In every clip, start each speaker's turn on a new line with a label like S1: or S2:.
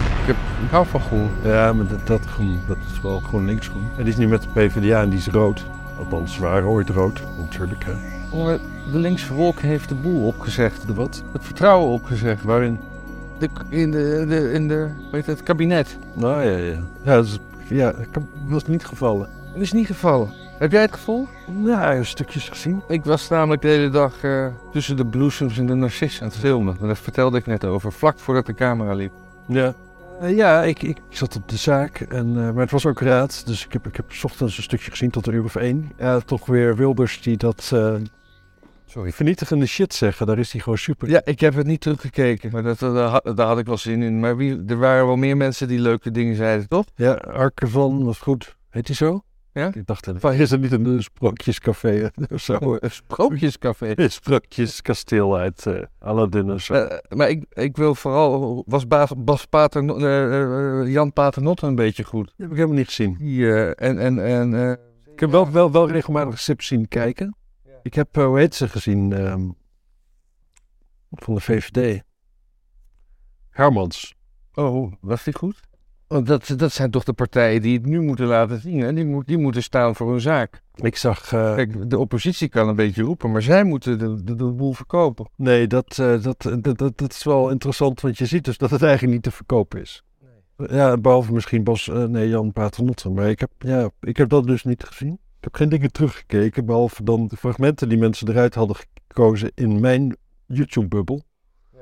S1: heb, ik hou van groen.
S2: Ja, maar dat, dat groen, dat is wel GroenLinks groen. Het is nu met de PvdA en die is rood. Althans, ze waren ooit rood, natuurlijk. Hè.
S1: Onder de linkse wolk heeft de boel opgezegd.
S2: De wat?
S1: Het vertrouwen opgezegd.
S2: Waarin?
S1: De, in de, de, in de, weet het, kabinet.
S2: Nou ja, ja. Ja, dat is, ja, ik heb- was niet gevallen.
S1: Dat is niet gevallen. Heb jij het gevoel?
S2: Nou, stukjes gezien.
S1: Ik was namelijk de hele dag eh, tussen de bloesems en de narcissen aan het filmen. En dat vertelde ik net over, vlak voordat de camera liep.
S2: Ja. Eh, Ja, ik, ik zat op de zaak, en, eh, maar het was ook raad. Dus ik heb, ik heb 's ochtends een stukje gezien tot een uur of één. Ja, toch weer Wilders die dat eh,
S1: Sorry.
S2: vernietigende shit zeggen. Daar is hij gewoon super.
S1: Ja, ik heb het niet teruggekeken, maar dat, dat- daar had- daar had ik wel zin in. Maar wie, er waren wel meer mensen die leuke dingen zeiden, toch?
S2: Ja, Arke van was goed. Heet hij zo?
S1: Ja?
S2: Ik dacht, eh, is er niet een eh, sprookjescafé eh, of zo? eh?
S1: Een sprookjescafé.
S2: Een sprookjeskasteel uit eh Aladdin of zo.
S1: Eh, maar ik, ik wil vooral, was Bas, Bas Pater, eh, eh, Jan Paternotte een beetje goed?
S2: Die heb ik helemaal niet gezien.
S1: Die, eh, en, en, en, eh,
S2: Ik heb wel, wel, wel regelmatig Sip zien kijken. Ik heb, eh, hoe heet ze gezien? ehm, van de VVD. Hermans.
S1: oh, was die goed? Want dat, dat zijn toch de partijen die het nu moeten laten zien, hè? Die, moet, die moeten staan voor hun zaak.
S2: Ik zag... eh,
S1: Kijk, de oppositie kan een beetje roepen, maar zij moeten de, de, de boel verkopen.
S2: nee, dat, eh, dat, dat, dat, dat is wel interessant, want je ziet dus dat het eigenlijk niet te verkopen is. Ja, behalve misschien Bas, eh, nee, Jan Paternotte. Maar ik heb, ja, ik heb dat dus niet gezien. Ik heb geen dingen teruggekeken, behalve dan de fragmenten die mensen eruit hadden gekozen in mijn YouTube-bubbel.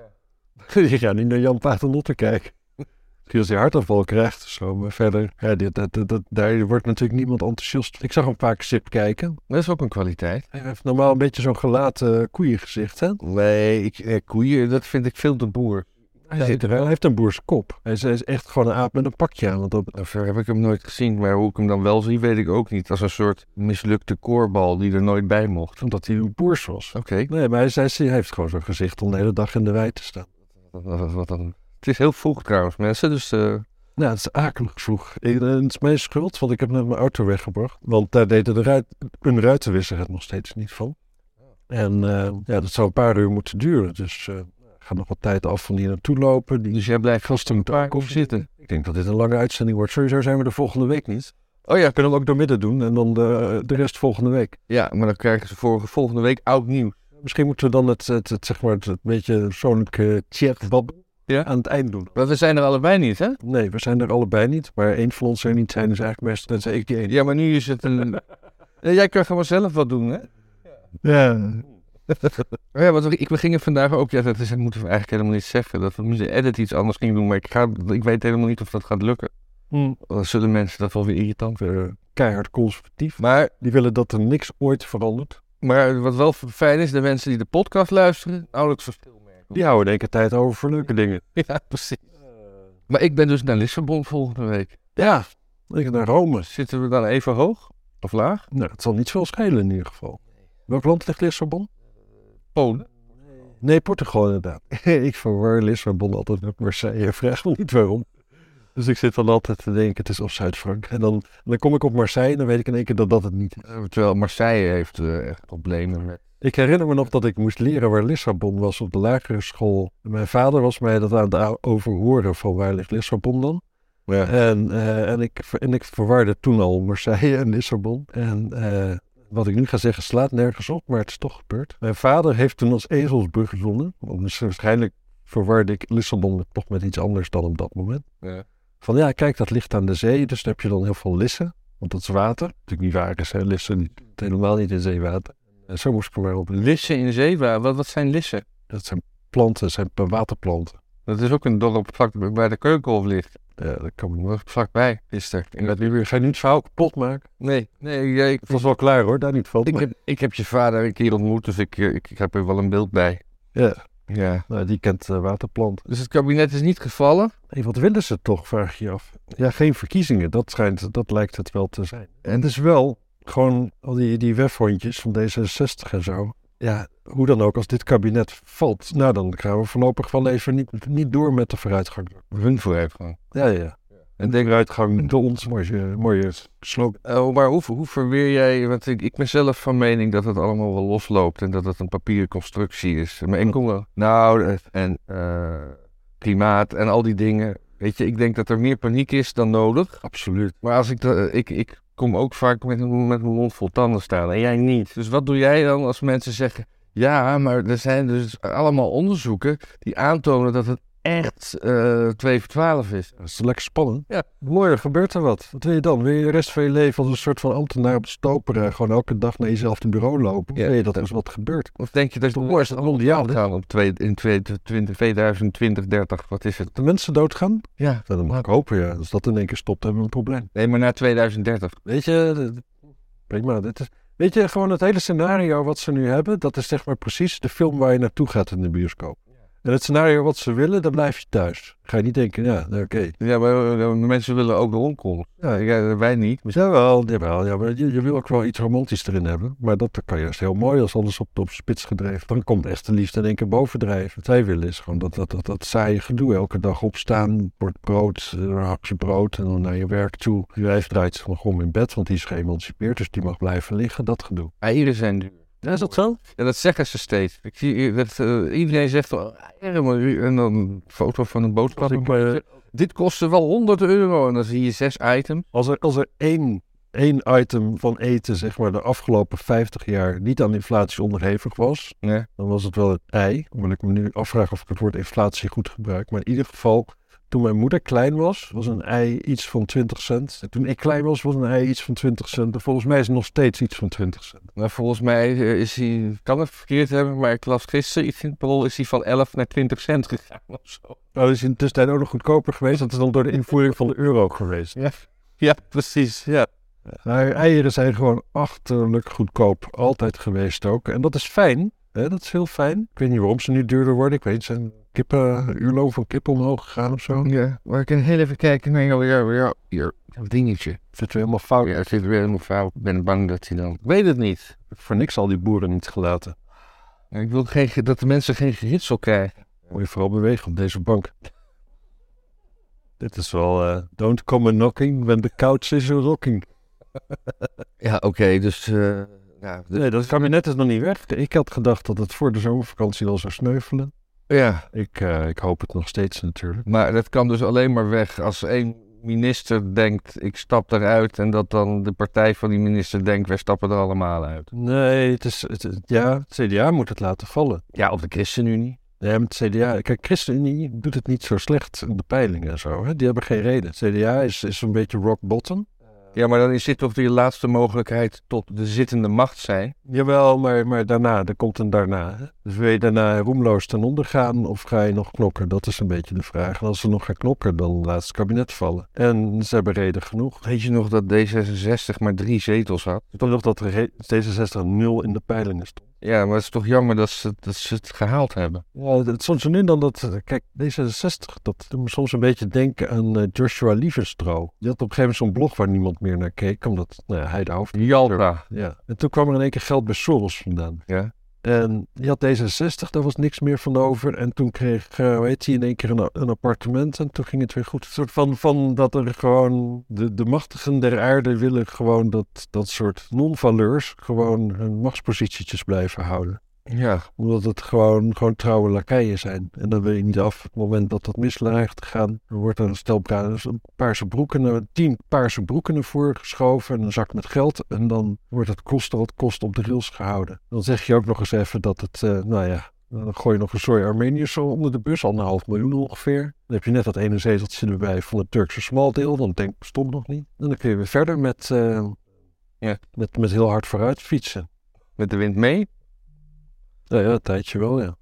S2: Ja. Je gaat niet naar Jan Paternotte kijken. Misschien als hij hartaanval krijgt of zo, maar verder. Ja, dit, dat, dat, dat- daar wordt natuurlijk niemand enthousiast. Ik zag hem vaak sip kijken.
S1: Dat is ook een kwaliteit.
S2: Hij heeft normaal een beetje zo'n gelaten koeiengezicht, hè?
S1: Nee, ik, eh, koeien, dat vind ik veel te boer.
S2: Hij, zit er, wel. hij heeft een boerskop. Hij is, hij is echt gewoon een aap met een pakje aan. Want dat,
S1: Zover eh, heb ik hem nooit gezien, maar hoe ik hem dan wel zie, weet ik ook niet. Als een soort mislukte koorbal die er nooit bij mocht. Oké,
S2: omdat hij een boers was. Nee, maar hij, hij, hij heeft gewoon zo'n gezicht om de hele dag in de wei te staan.
S1: wat, wat- wat dan? Het is heel vroeg trouwens, mensen, dus... eh,
S2: Nou, het is akelig vroeg. Ik- eh, Het is mijn schuld, want ik heb net mijn auto weggebracht. Want daar deden de ruit, een ruitenwisser het nog steeds niet van. En eh, ja, dat zou een paar uur moeten duren. Dus eh gaat nog wat tijd af van hier naartoe lopen. Die
S1: dus jij blijft vast een paar
S2: komen
S1: zitten.
S2: Ik denk dat dit een lange uitzending wordt. Sowieso zijn we de volgende week niet. Oh ja, kunnen we ook door midden doen en dan de, de rest volgende week.
S1: Ja, maar dan krijgen ze vorige, volgende week oud nieuws.
S2: Misschien moeten we dan het, het, het, zeg maar het, het beetje persoonlijke chat
S1: Ja.
S2: aan het eind doen.
S1: Maar we zijn er allebei niet, hè?
S2: Nee, we zijn er allebei niet, maar één van ons er niet zijn is eigenlijk best, tenzij ik die één.
S1: Ja, maar nu is het een... Ja, jij kan gewoon zelf wat doen, hè?
S2: Ja.
S1: Oh Ja, want we, ik, we gingen vandaag ook, ja, dat, is, dat moeten we eigenlijk helemaal niet zeggen. Dat we moeten edit iets anders gingen doen, maar ik, ga, ik weet helemaal niet of dat gaat lukken.
S2: Hm.
S1: Dan zullen mensen dat wel weer irritant vinden.
S2: Eh, Keihard conservatief.
S1: Maar,
S2: Die willen dat er niks ooit verandert.
S1: maar wat wel fijn is, de mensen die de podcast luisteren, nauwelijks verschil merken.
S2: Die houden in één keer tijd over voor leuke dingen.
S1: Ja, precies.
S2: Eh.
S1: Maar ik ben dus naar Lissabon volgende week.
S2: Ja, ik naar Rome.
S1: Zitten we dan even hoog of laag?
S2: Nou, het zal niet veel schelen in ieder geval. Welk land ligt Lissabon?
S1: Polen.
S2: Nee, Portugal inderdaad. ik verwar Lissabon altijd met Marseille. Vraag me niet waarom. Dus ik zit dan altijd te denken, het is of Zuid-Frankrijk. En dan, dan kom ik op Marseille en dan weet ik in één keer dat dat het niet is.
S1: Eh, Terwijl Marseille heeft eh, echt problemen met...
S2: Ik herinner me nog dat ik moest leren waar Lissabon was op de lagere school. En Mijn vader was mij dat aan het a- overhoren van waar ligt Lissabon dan.
S1: Ja.
S2: En, eh, en, ik, ver- en ik verwarde toen al Marseille en Lissabon. En eh, wat ik nu ga zeggen slaat nergens op, maar het is toch gebeurd. Mijn vader heeft toen als ezelsbrug gezonden. Want dus waarschijnlijk verwarde ik Lissabon met- toch met iets anders dan op dat moment.
S1: Ja.
S2: Van ja, kijk, dat ligt aan de zee, dus dan heb je dan heel veel lissen. Want dat is water. Natuurlijk niet waar is, hè. Lissen niet- helemaal niet in zeewater. En zo moest ik er maar op
S1: Lissen in Zeewa, wat, wat zijn lissen?
S2: dat zijn planten, dat zijn waterplanten.
S1: Dat is ook een dorp vlak bij de Keukenhof ligt.
S2: Ja, dat kan
S1: Dat was vlakbij, gisteren. In dat
S2: Ga je nu het verhaal kapot maken?
S1: Nee, nee ja, ik,
S2: Het was wel klaar hoor, daar niet van.
S1: ik, heb, ik heb je vader een keer ontmoet, dus ik, eh, ik, ik heb er wel een beeld bij.
S2: Ja.
S1: ja.
S2: Nou, die kent eh, waterplanten.
S1: Dus het kabinet is niet gevallen.
S2: Hé, wat willen ze toch, vraag je je af. Ja, geen verkiezingen, dat, schijnt, dat lijkt het wel te zijn. En het is wel gewoon al die, die wefhondjes van D66 en zo. Ja, hoe dan ook, als dit kabinet valt, nou dan gaan we voorlopig wel even niet, niet door met de vooruitgang.
S1: Hun vooruitgang.
S2: Ja, ja.
S1: En denk,
S2: Uitgang door ons, mooie, mooie slogan.
S1: oh, maar hoe, hoe verweer jij... Want ik, ik ben zelf van mening dat het allemaal wel losloopt en dat het een papieren constructie is. Maar ik kom wel... Nou, eh, en eh, klimaat en al die dingen. Weet je, ik denk dat er meer paniek is dan nodig.
S2: Absoluut.
S1: Maar als ik, de- ik, ik kom ook vaak met, een- met mijn mond vol tanden staan en jij niet. Dus wat doe jij dan als mensen zeggen... Ja, maar er zijn dus allemaal onderzoeken die aantonen dat het echt eh 2 voor 12 is.
S2: Dat is lekker spannend.
S1: Ja.
S2: Mooi, dan gebeurt er wat. Wat wil je dan? Wil je de rest van je leven als een soort van ambtenaar op de stoper eh, gewoon elke dag naar jezelf in bureau lopen? Of
S1: Ja.
S2: wil je dat er eens wat gebeurt?
S1: Of denk je dat
S2: Toch
S1: we
S2: mooi is dat mondiaal, hè?
S1: gaan op twee, in twee- 20, 2020, 30, wat is het?
S2: De mensen doodgaan?
S1: Ja.
S2: Ja, dat mag ik hopen, ja. Als dat in één keer stopt, hebben we een probleem.
S1: Nee, maar na 2030.
S2: Weet je, d- d- prima. Dit is, weet je, gewoon het hele scenario wat ze nu hebben, dat is zeg maar precies de film waar je naartoe gaat in de bioscoop. En het scenario wat ze willen, dan blijf je thuis. Ga je niet denken, ja, nou, oké.
S1: Ja, maar eh, de mensen willen ook de omkomen.
S2: Ja,
S1: Ja, wij niet.
S2: Maar Jawel, jawel, ja, maar je, je wil ook wel iets romantisch erin hebben. Maar dat kan juist heel mooi als alles op, op spits gedreven. Dan komt echt de liefde in één keer bovendrijven. Wat wij willen is gewoon dat, dat, dat, dat saaie gedoe. Elke dag opstaan, bord brood, eh, een hakje brood en dan naar je werk toe. Die wijf draait zich nog om in bed, want die is geëmancipeerd, dus die mag blijven liggen. Dat gedoe.
S1: Eieren zijn duur.
S2: Ja, is dat zo?
S1: Ja, dat zeggen ze steeds. Ik zie dat eh, iedereen zegt wel, eieren, maar u- en dan een foto van een boodschap.
S2: Als ik maar-
S1: Dit kostte wel 100 euro en dan zie je zes items.
S2: Als er, als er één, één item van eten, zeg maar, de afgelopen 50 jaar niet aan inflatie onderhevig was,
S1: Nee.
S2: dan was het wel het ei. Omdat ik me nu afvraag of ik het woord inflatie goed gebruik. Maar in ieder geval, toen mijn moeder klein was, was een ei iets van 20 cent. En toen ik klein was, was een ei iets van 20 cent. En volgens mij is het nog steeds iets van 20 cent.
S1: Maar volgens mij eh, is hij, kan het verkeerd hebben, maar ik las gisteren iets in het parool, is hij van 11 naar 20 cent gegaan of zo.
S2: Nou, dat is in de tussentijd ook nog goedkoper geweest. Dat is dan door de invoering van de euro geweest.
S1: Ja, ja precies. Ja.
S2: Nou, eieren zijn gewoon achterlijk goedkoop. Altijd geweest ook. En dat is fijn. Hè? Dat is heel fijn. Ik weet niet waarom ze nu duurder worden. Ik weet, zijn kippen, uurloon van kippen omhoog gegaan of zo?
S1: ja, maar ik kan heel even kijken naar jouw, jouw, jouw, jouw, jouw dingetje.
S2: Zitten we helemaal fout.
S1: Oh ja, het zit weer helemaal fout. Ik ben bang dat hij dan... Ik weet het niet.
S2: Voor niks al die boeren niet gelaten.
S1: Ik wil geen, ge- dat de mensen geen geritsel krijgen.
S2: Moet je vooral bewegen op deze bank. Dit is wel eh, don't come a knocking when the couch is a rocking.
S1: Ja, oké, dus... eh, nou, de-
S2: Nee, dat kabinet is nog niet weg. Ik had gedacht dat het voor de zomervakantie al zou sneuvelen.
S1: ja,
S2: Ik, eh, ik hoop het nog steeds natuurlijk.
S1: Maar dat kan dus alleen maar weg als één minister denkt, ik stap eruit. En dat dan de partij van die minister denkt, wij stappen er allemaal uit.
S2: Nee, het is, het, het- ja, het CDA moet het laten vallen.
S1: Ja, of de ChristenUnie.
S2: Ja, maar het CDA, kijk, ChristenUnie doet het niet zo slecht in de peilingen en zo. Hè? Die hebben geen reden. Het CDA is, is een beetje rock bottom.
S1: Ja, maar dan is dit toch die laatste mogelijkheid tot de zittende macht zijn.
S2: Jawel, maar, maar daarna, er komt een daarna. hè. Dus wil je daarna roemloos ten onder gaan of ga je nog knokken? Dat is een beetje de vraag. En als ze nog gaan knokken, dan laat het kabinet vallen. En ze hebben reden genoeg.
S1: Weet je nog dat D66 maar drie zetels had?
S2: Ik weet nog dat er re- D66 nul in de peilingen stond.
S1: Ja, maar het is toch jammer dat ze, dat ze het gehaald hebben.
S2: Ja, dat- soms en nu dan dat... Kijk, D66, dat doet me soms een beetje denken aan eh, Joshua Lievenstro. Die had op een gegeven moment zo'n blog waar niemand meer naar keek, omdat nou ja, hij de hoofd...
S1: Jalta.
S2: Ja. En toen kwam er in één keer geld bij Soros vandaan.
S1: Ja.
S2: En die had D66, daar was niks meer van over. En toen kreeg, eh, hoe heet hij, in één keer een, een appartement. En toen ging het weer goed. Een soort van, van dat er gewoon de, de machtigen der aarde willen gewoon dat, dat soort non-valeurs gewoon hun machtspositietjes blijven houden.
S1: Ja.
S2: Omdat het gewoon, gewoon trouwe lakeien zijn. En dan wil je niet af. Op het moment dat dat mislaagt te gaan, dan wordt er een stel bra- een paarse broeken, een tien paarse broeken naar voren geschoven en een zak met geld. En dan wordt het kost wat kost op de rails gehouden. Dan zeg je ook nog eens even dat het, eh, nou ja, dan gooi je nog een zooi Armeniërs zo onder de bus, al een half miljoen ongeveer. Dan heb je net dat ene zeteltje erbij van het Turkse smaldeel, dan denk ik, stop nog niet. En dan kun je weer verder met, eh,
S1: Ja.
S2: met, met heel hard vooruit fietsen.
S1: Met de wind mee.
S2: Nou ja, een tijdje wel, ja.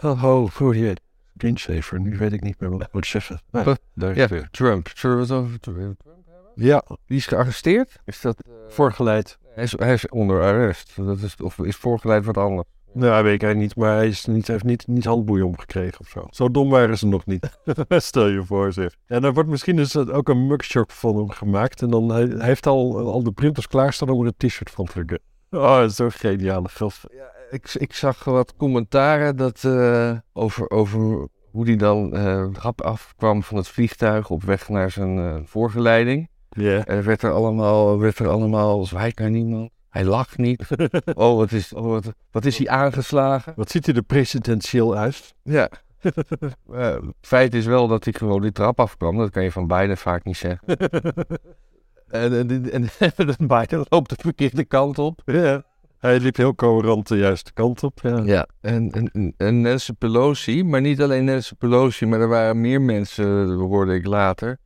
S2: Oh, oh voor je Greenshaver, nu weet ik niet meer wat ik moet zeggen. Nou,
S1: Huh?
S2: daar
S1: Ja,
S2: is weer.
S1: Trump. Zullen we het over Trump hebben?
S2: Ja,
S1: Die is gearresteerd. Is dat...
S2: voorgeleid.
S1: Hij is, hij is onder arrest. Dat is, of is voorgeleid wat anders.
S2: Nou, weet ik eigenlijk niet, maar hij, is niet, hij heeft niet, niet handboeien omgekregen of zo. Zo dom waren ze nog niet. Stel je voor, zeg. En er wordt misschien dus ook een mugshot van hem gemaakt. En dan hij, hij heeft al, al de printers klaarstaan om er een t-shirt van te drukken. Oh, zo'n geniale gast.
S1: Ja, ik, ik zag wat commentaren dat, eh, over, over hoe die dan eh, rap afkwam van het vliegtuig op weg naar zijn eh voorgeleiding.
S2: Ja.
S1: Er werd er allemaal, werd er allemaal zwijgt naar niemand. Hij lacht niet. Oh, wat is, oh, wat, wat is hij aangeslagen?
S2: Wat ziet hij er presidentieel uit?
S1: Ja. Eh, feit is wel dat hij gewoon die trap afkwam. Dat kan je van beide vaak niet zeggen. En, en, en, en, Biden loopt de verkeerde kant op.
S2: ja. Hij liep heel coherent de juiste kant op. Ja.
S1: Ja, en, en, en Nancy Pelosi, maar niet alleen Nancy Pelosi, maar er waren meer mensen, eh, hoorde ik later.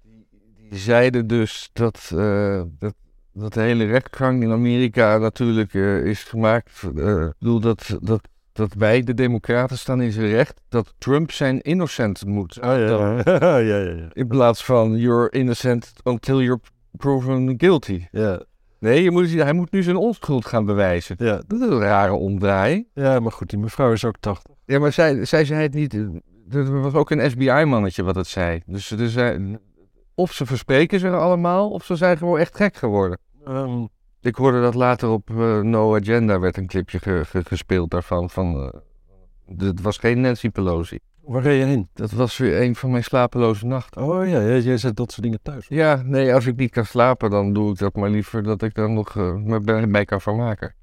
S1: Die zeiden dus dat, eh, dat, dat de hele rechtsgang in Amerika natuurlijk eh, is gemaakt. eh, ik bedoel, dat, dat, dat wij, de Democraten, staan in zijn recht. Dat Trump zijn innocent moet.
S2: Oh, ja. ja, ja, ja.
S1: In plaats van you're innocent until you're proven guilty.
S2: Ja,
S1: Nee, je moet, hij moet nu zijn onschuld gaan bewijzen.
S2: ja.
S1: Dat is een rare omdraai.
S2: ja, maar goed, die mevrouw is ook 80.
S1: Ja, maar zij, zij zei het niet. Er was ook een FBI-mannetje wat het zei. Dus, dus zij- of ze verspreken zich allemaal, of ze zijn gewoon echt gek geworden.
S2: Ehm,
S1: Ik hoorde dat later op eh, No Agenda werd een clipje ge- ge- gespeeld daarvan. Van, eh, het was geen Nancy Pelosi.
S2: waar reed je heen?
S1: Dat was weer een van mijn slapeloze nachten.
S2: Oh ja, jij, jij zet dat soort dingen thuis.
S1: Ja, nee, als ik niet kan slapen, dan doe ik dat maar liever dat ik daar nog eh, me bij- bij kan vermaken.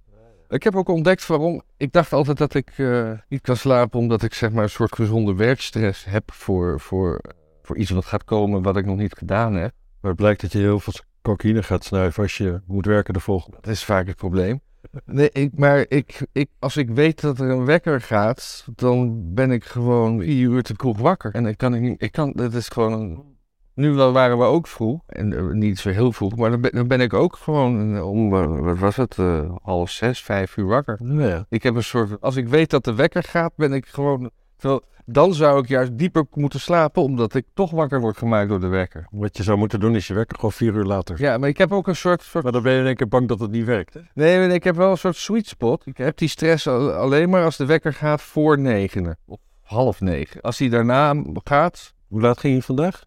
S1: Ik heb ook ontdekt waarom. Ik dacht altijd dat ik eh, niet kan slapen, omdat ik zeg maar een soort gezonde werkstress heb voor, voor, voor iets wat gaat komen wat ik nog niet gedaan heb.
S2: Maar het blijkt dat je heel veel cocaïne gaat snuiven als je moet werken de volgende.
S1: Dat is vaak het probleem. Nee, ik, maar ik, ik, als ik weet dat er een wekker gaat, dan ben ik gewoon vier uur te vroeg wakker. En ik kan ik niet, ik kan, dat is gewoon... een- Nu wel waren we ook vroeg, en eh, niet zo heel vroeg, maar dan ben, dan ben ik ook gewoon eh, om, eh, wat was het, eh, half zes, vijf uur wakker.
S2: Nou ja.
S1: Ik heb een soort, als ik weet dat de wekker gaat, ben ik gewoon... Terwijl, dan zou ik juist dieper moeten slapen, omdat ik toch wakker word gemaakt door de wekker.
S2: Wat je zou moeten doen is je wekker gewoon vier uur later.
S1: Ja, maar ik heb ook een soort, soort
S2: Maar dan ben je in één keer bang dat het niet werkt. Hè?
S1: Nee, maar ik heb wel een soort sweet spot. Ik heb die stress al- alleen maar als de wekker gaat voor negenen. Of half negen. Als hij daarna gaat,
S2: Hoe laat ging je vandaag?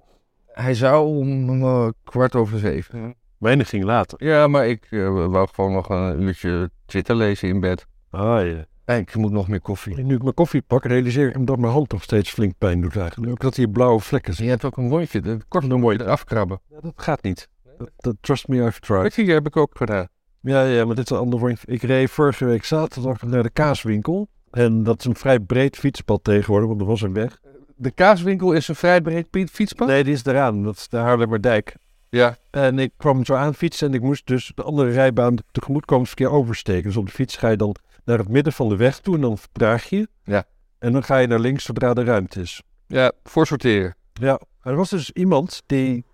S1: hij zou om eh, kwart over zeven.
S2: Weinig ging later.
S1: Ja, maar ik eh, wou gewoon nog een uurtje Twitter lezen in bed.
S2: Ah ja.
S1: En ik moet nog meer koffie.
S2: Nu ik mijn koffie pak, realiseer ik me dat mijn hand nog steeds flink pijn doet eigenlijk. Ook dat hier blauwe vlekken
S1: Je
S2: zijn.
S1: hebt ook een wondje, dat kort een wondje eraf krabben.
S2: Ja, dat gaat niet. Dat, dat- trust me, I've tried.
S1: Dat heb ik ook gedaan.
S2: Ja, ja, maar dit is een ander woord. Ik reed vorige week zaterdag naar de kaaswinkel. En dat is een vrij breed fietspad tegenwoordig, want er was een weg.
S1: De kaaswinkel is een vrij breed pi- fietspad.
S2: Nee, die is eraan. Dat is de Haarlemmerdijk.
S1: Ja.
S2: En ik kwam zo aan fietsen en ik moest dus de andere rijbaan tegemoetkomingsverkeer oversteken. Dus op de fiets ga je dan naar het midden van de weg toe en dan vertraag je.
S1: Ja.
S2: En dan ga je naar links zodra er ruimte is.
S1: Ja, voor sorteren.
S2: Ja, er was dus iemand die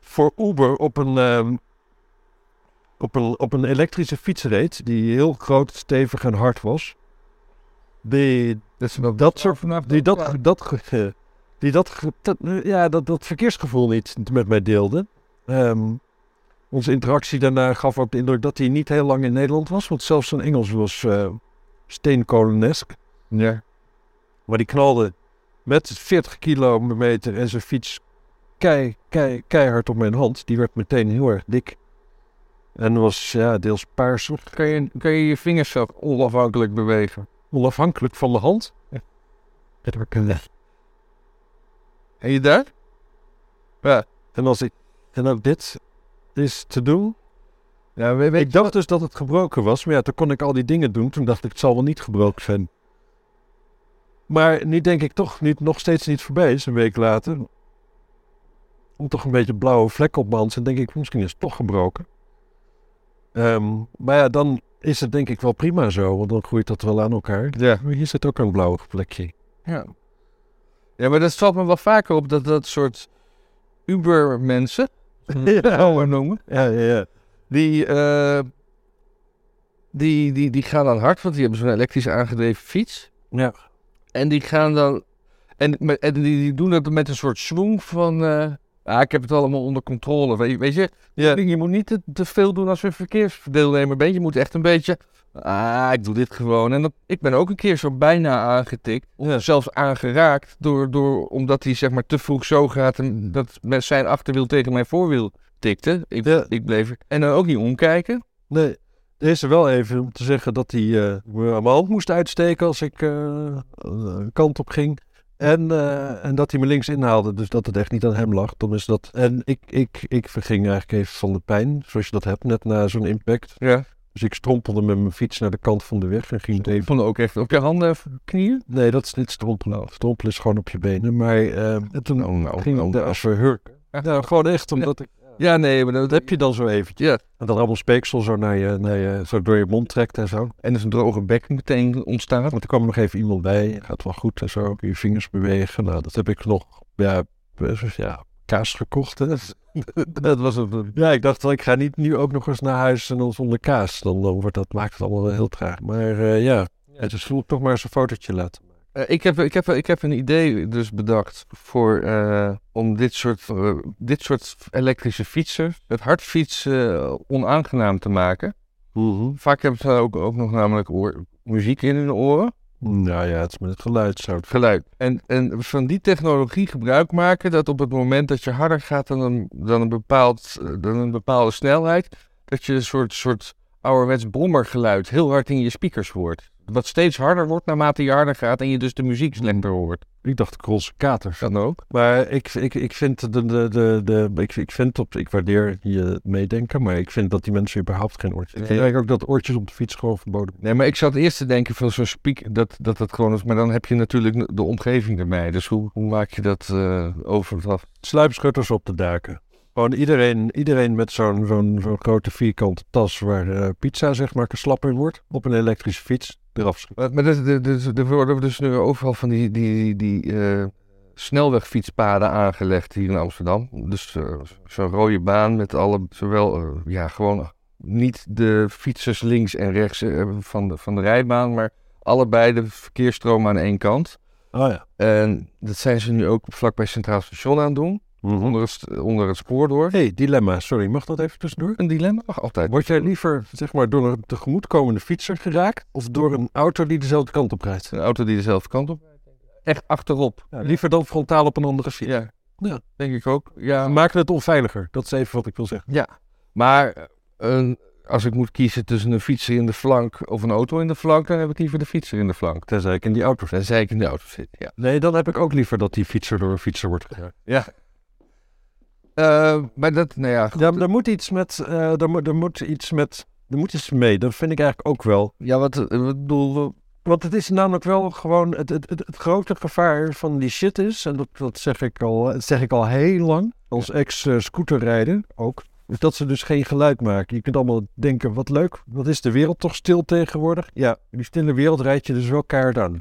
S2: voor Uber op een, ehm, op een, op een elektrische fiets reed. Die heel groot, stevig en hard was. Die
S1: Dat, is wel-
S2: dat soort
S1: vanaf
S2: die dat, ge- dat, ge- die dat, ge- dat, eh, ja, dat, dat verkeersgevoel niet met mij deelde. Ehm, onze interactie daarna gaf ook de indruk dat hij niet heel lang in Nederland was. Want zelfs zijn Engels was eh steenkolenesk.
S1: Ja.
S2: Maar die knalde met 40 kilometer en zijn fiets kei, kei, keihard op mijn hand. Die werd meteen heel erg dik. En was ja, deels paarsig.
S1: Kan je, kan je je vingers zo onafhankelijk bewegen?
S2: Onafhankelijk van de hand. Dat heb ik een
S1: En je daar?
S2: En als ik. En ook dit is te doen.
S1: Ja, weet,
S2: Ik dacht dus dat het gebroken was, maar ja, toen kon ik al die dingen doen. Toen dacht ik, het zal wel niet gebroken zijn. Maar nu denk ik toch niet, nog steeds niet voorbij is, een week later. Om toch een beetje blauwe vlek op mijn hand. En denk ik, misschien is het toch gebroken. Ehm, maar ja, dan is het denk ik wel prima zo, want dan groeit dat wel aan elkaar.
S1: Ja.
S2: Maar hier zit ook een blauwe plekje.
S1: ja. Ja, maar dat valt me wel vaker op dat dat soort Uber-mensen, zou maar noemen,
S2: ja, ja, ja.
S1: die, eh, die, die, die gaan dan hard, want die hebben zo'n elektrisch aangedreven fiets.
S2: Ja.
S1: En die gaan dan, en, met- en die, die doen dat met een soort swing van, eh, ah, ik heb het allemaal onder controle. Weet, je- weet je,
S2: Ja.
S1: je moet niet te, te veel doen als je een verkeersdeelnemer bent. Je moet echt een beetje, ah, ik doe dit gewoon. En dat, ik ben ook een keer zo bijna aangetikt.
S2: Ja.
S1: zelfs aangeraakt. Door, door, omdat hij zeg maar te vroeg zo gaat. En dat met zijn achterwiel tegen mijn voorwiel tikte. Ik,
S2: Ja.
S1: ik bleef. En dan ook niet omkijken.
S2: Nee, er is er wel even om te zeggen dat hij eh, me aan mijn hand moest uitsteken als ik eh, een kant op ging. En, eh, en dat hij me links inhaalde, dus dat het echt niet aan hem lag. Dan is dat... En ik, ik, ik verging eigenlijk even van de pijn, zoals je dat hebt net na zo'n impact.
S1: Ja.
S2: Dus ik strompelde met mijn fiets naar de kant van de weg en ging
S1: Ik
S2: even...
S1: vond het ook echt op je handen of knieën.
S2: Nee, dat is niet strompelen. Strompelen is gewoon op je benen. Maar eh, en toen
S1: Nou, nou,
S2: ging
S1: nou,
S2: ik daar verhurken.
S1: echt?
S2: Ja, gewoon echt, omdat ik...
S1: Ja, nee, maar
S2: Dat heb je dan zo eventjes.
S1: Ja.
S2: En dat allemaal speeksel zo, naar je, naar je, zo door je mond trekt en zo.
S1: En dus een droge bek meteen ontstaat.
S2: Want er kwam nog even iemand bij. Gaat wel goed en zo. Kun je vingers bewegen. Nou, dat heb ik nog. Ja, best- ja kaas gekocht. Hè.
S1: Dat was het.
S2: Ja, ik dacht wel, ik ga niet nu ook nog eens naar huis en dan zonder kaas. Dan, dan wordt dat, maakt het allemaal wel heel traag. Maar eh, ja, het is voel ik toch maar eens een fotootje laten.
S1: Eh, ik, heb, ik, heb, ik heb een idee dus bedacht voor, eh, om dit soort, eh, dit soort elektrische fietsen, het hardfietsen eh, onaangenaam te maken. Vaak hebben ze ook, ook nog namelijk oor- muziek in hun oren,
S2: Nou ja, het is met het geluid zo.
S1: geluid. En, en van die technologie gebruik maken dat op het moment dat je harder gaat dan een, dan een, bepaald, eh, dan een bepaalde snelheid, dat je een soort, soort ouderwets brommergeluid heel hard in je speakers hoort. Wat steeds harder wordt naarmate je harder gaat en je dus de muziek slechter hoort.
S2: Ik dacht roze kater.
S1: Kan ook.
S2: Maar ik, ik, ik vind de, de, de, de ik, ik vind op, ik waardeer je meedenken, maar ik vind dat die mensen überhaupt geen oortjes. Ik vind
S1: Nee.
S2: eigenlijk ook dat oortjes op de fiets gewoon verboden.
S1: Nee, maar ik zat eerst te denken van zo'n speak, dat, dat dat gewoon is. Maar dan heb je natuurlijk de omgeving erbij. Dus hoe, hoe maak je dat eh over af?
S2: Sluipschutters op de daken. Gewoon iedereen, iedereen met zo'n zo'n zo'n grote vierkante tas waar eh, pizza zeg maar slap in wordt, op een elektrische fiets eraf schieten.
S1: Maar, maar dus- dus- dus- er worden dus nu overal van die, die, die, die, eh, snelwegfietspaden aangelegd hier in Amsterdam. Dus eh, zo'n rode baan met alle, zowel, eh, ja, gewoon niet de fietsers links en rechts eh, van, de, van de rijbaan, maar allebei de verkeersstromen aan één kant.
S2: Oh ja.
S1: En dat zijn ze nu ook vlakbij Centraal Station aan het doen, onder het, st- onder het spoor door.
S2: Hey, dilemma, sorry, mag dat even tussendoor?
S1: Een dilemma mag altijd.
S2: Word jij liever zeg maar, door een tegemoetkomende fietser geraakt of door een auto die dezelfde kant op rijdt?
S1: Een auto die dezelfde kant op. Echt achterop.
S2: Ja, liever dan frontaal op een andere fiets.
S1: Ja.
S2: Ja.
S1: denk ik ook. Ja.
S2: Ze maken het onveiliger. Dat is even wat ik wil zeggen.
S1: Maar eh, een, als ik moet kiezen tussen een fietser in de flank of een auto in de flank, dan heb ik liever de fietser in de flank.
S2: Tenzij ik in die auto zit.
S1: Tenzij ik in de auto zit. Ja.
S2: Nee, dan heb ik ook liever dat die fietser door een fietser wordt geraakt.
S1: Eh, maar dat, nou ja. goed.
S2: Ja, maar er moet iets met... eh er, moet, er moet iets met... Er moet iets mee. Dat vind ik eigenlijk ook wel.
S1: Ja, wat eh, wat bedoel we?
S2: Want het is namelijk wel gewoon... Het, het, het, het grote gevaar van die shit is... En dat, dat, zeg, ik al, dat zeg ik al heel lang. Als ex-scooterrijder ook. Is dat ze dus geen geluid maken. Je kunt allemaal denken, wat leuk. Wat is de wereld toch stil tegenwoordig? Ja, in die stille wereld rijd je dus wel keihard aan.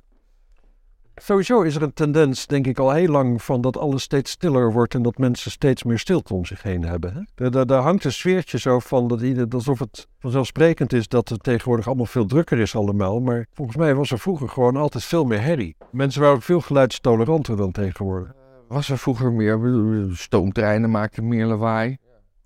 S2: Sowieso is er een tendens, denk ik al heel lang, van dat alles steeds stiller wordt en dat mensen steeds meer stilte om zich heen hebben. Hè? Daar, daar, daar hangt een sfeertje zo van dat ieder, alsof het vanzelfsprekend is dat het tegenwoordig allemaal veel drukker is allemaal. Maar volgens mij was er vroeger gewoon altijd veel meer herrie. Mensen waren ook veel geluidstoleranter dan tegenwoordig.
S1: Was er vroeger meer? bedoel, Stoomtreinen maakten meer lawaai.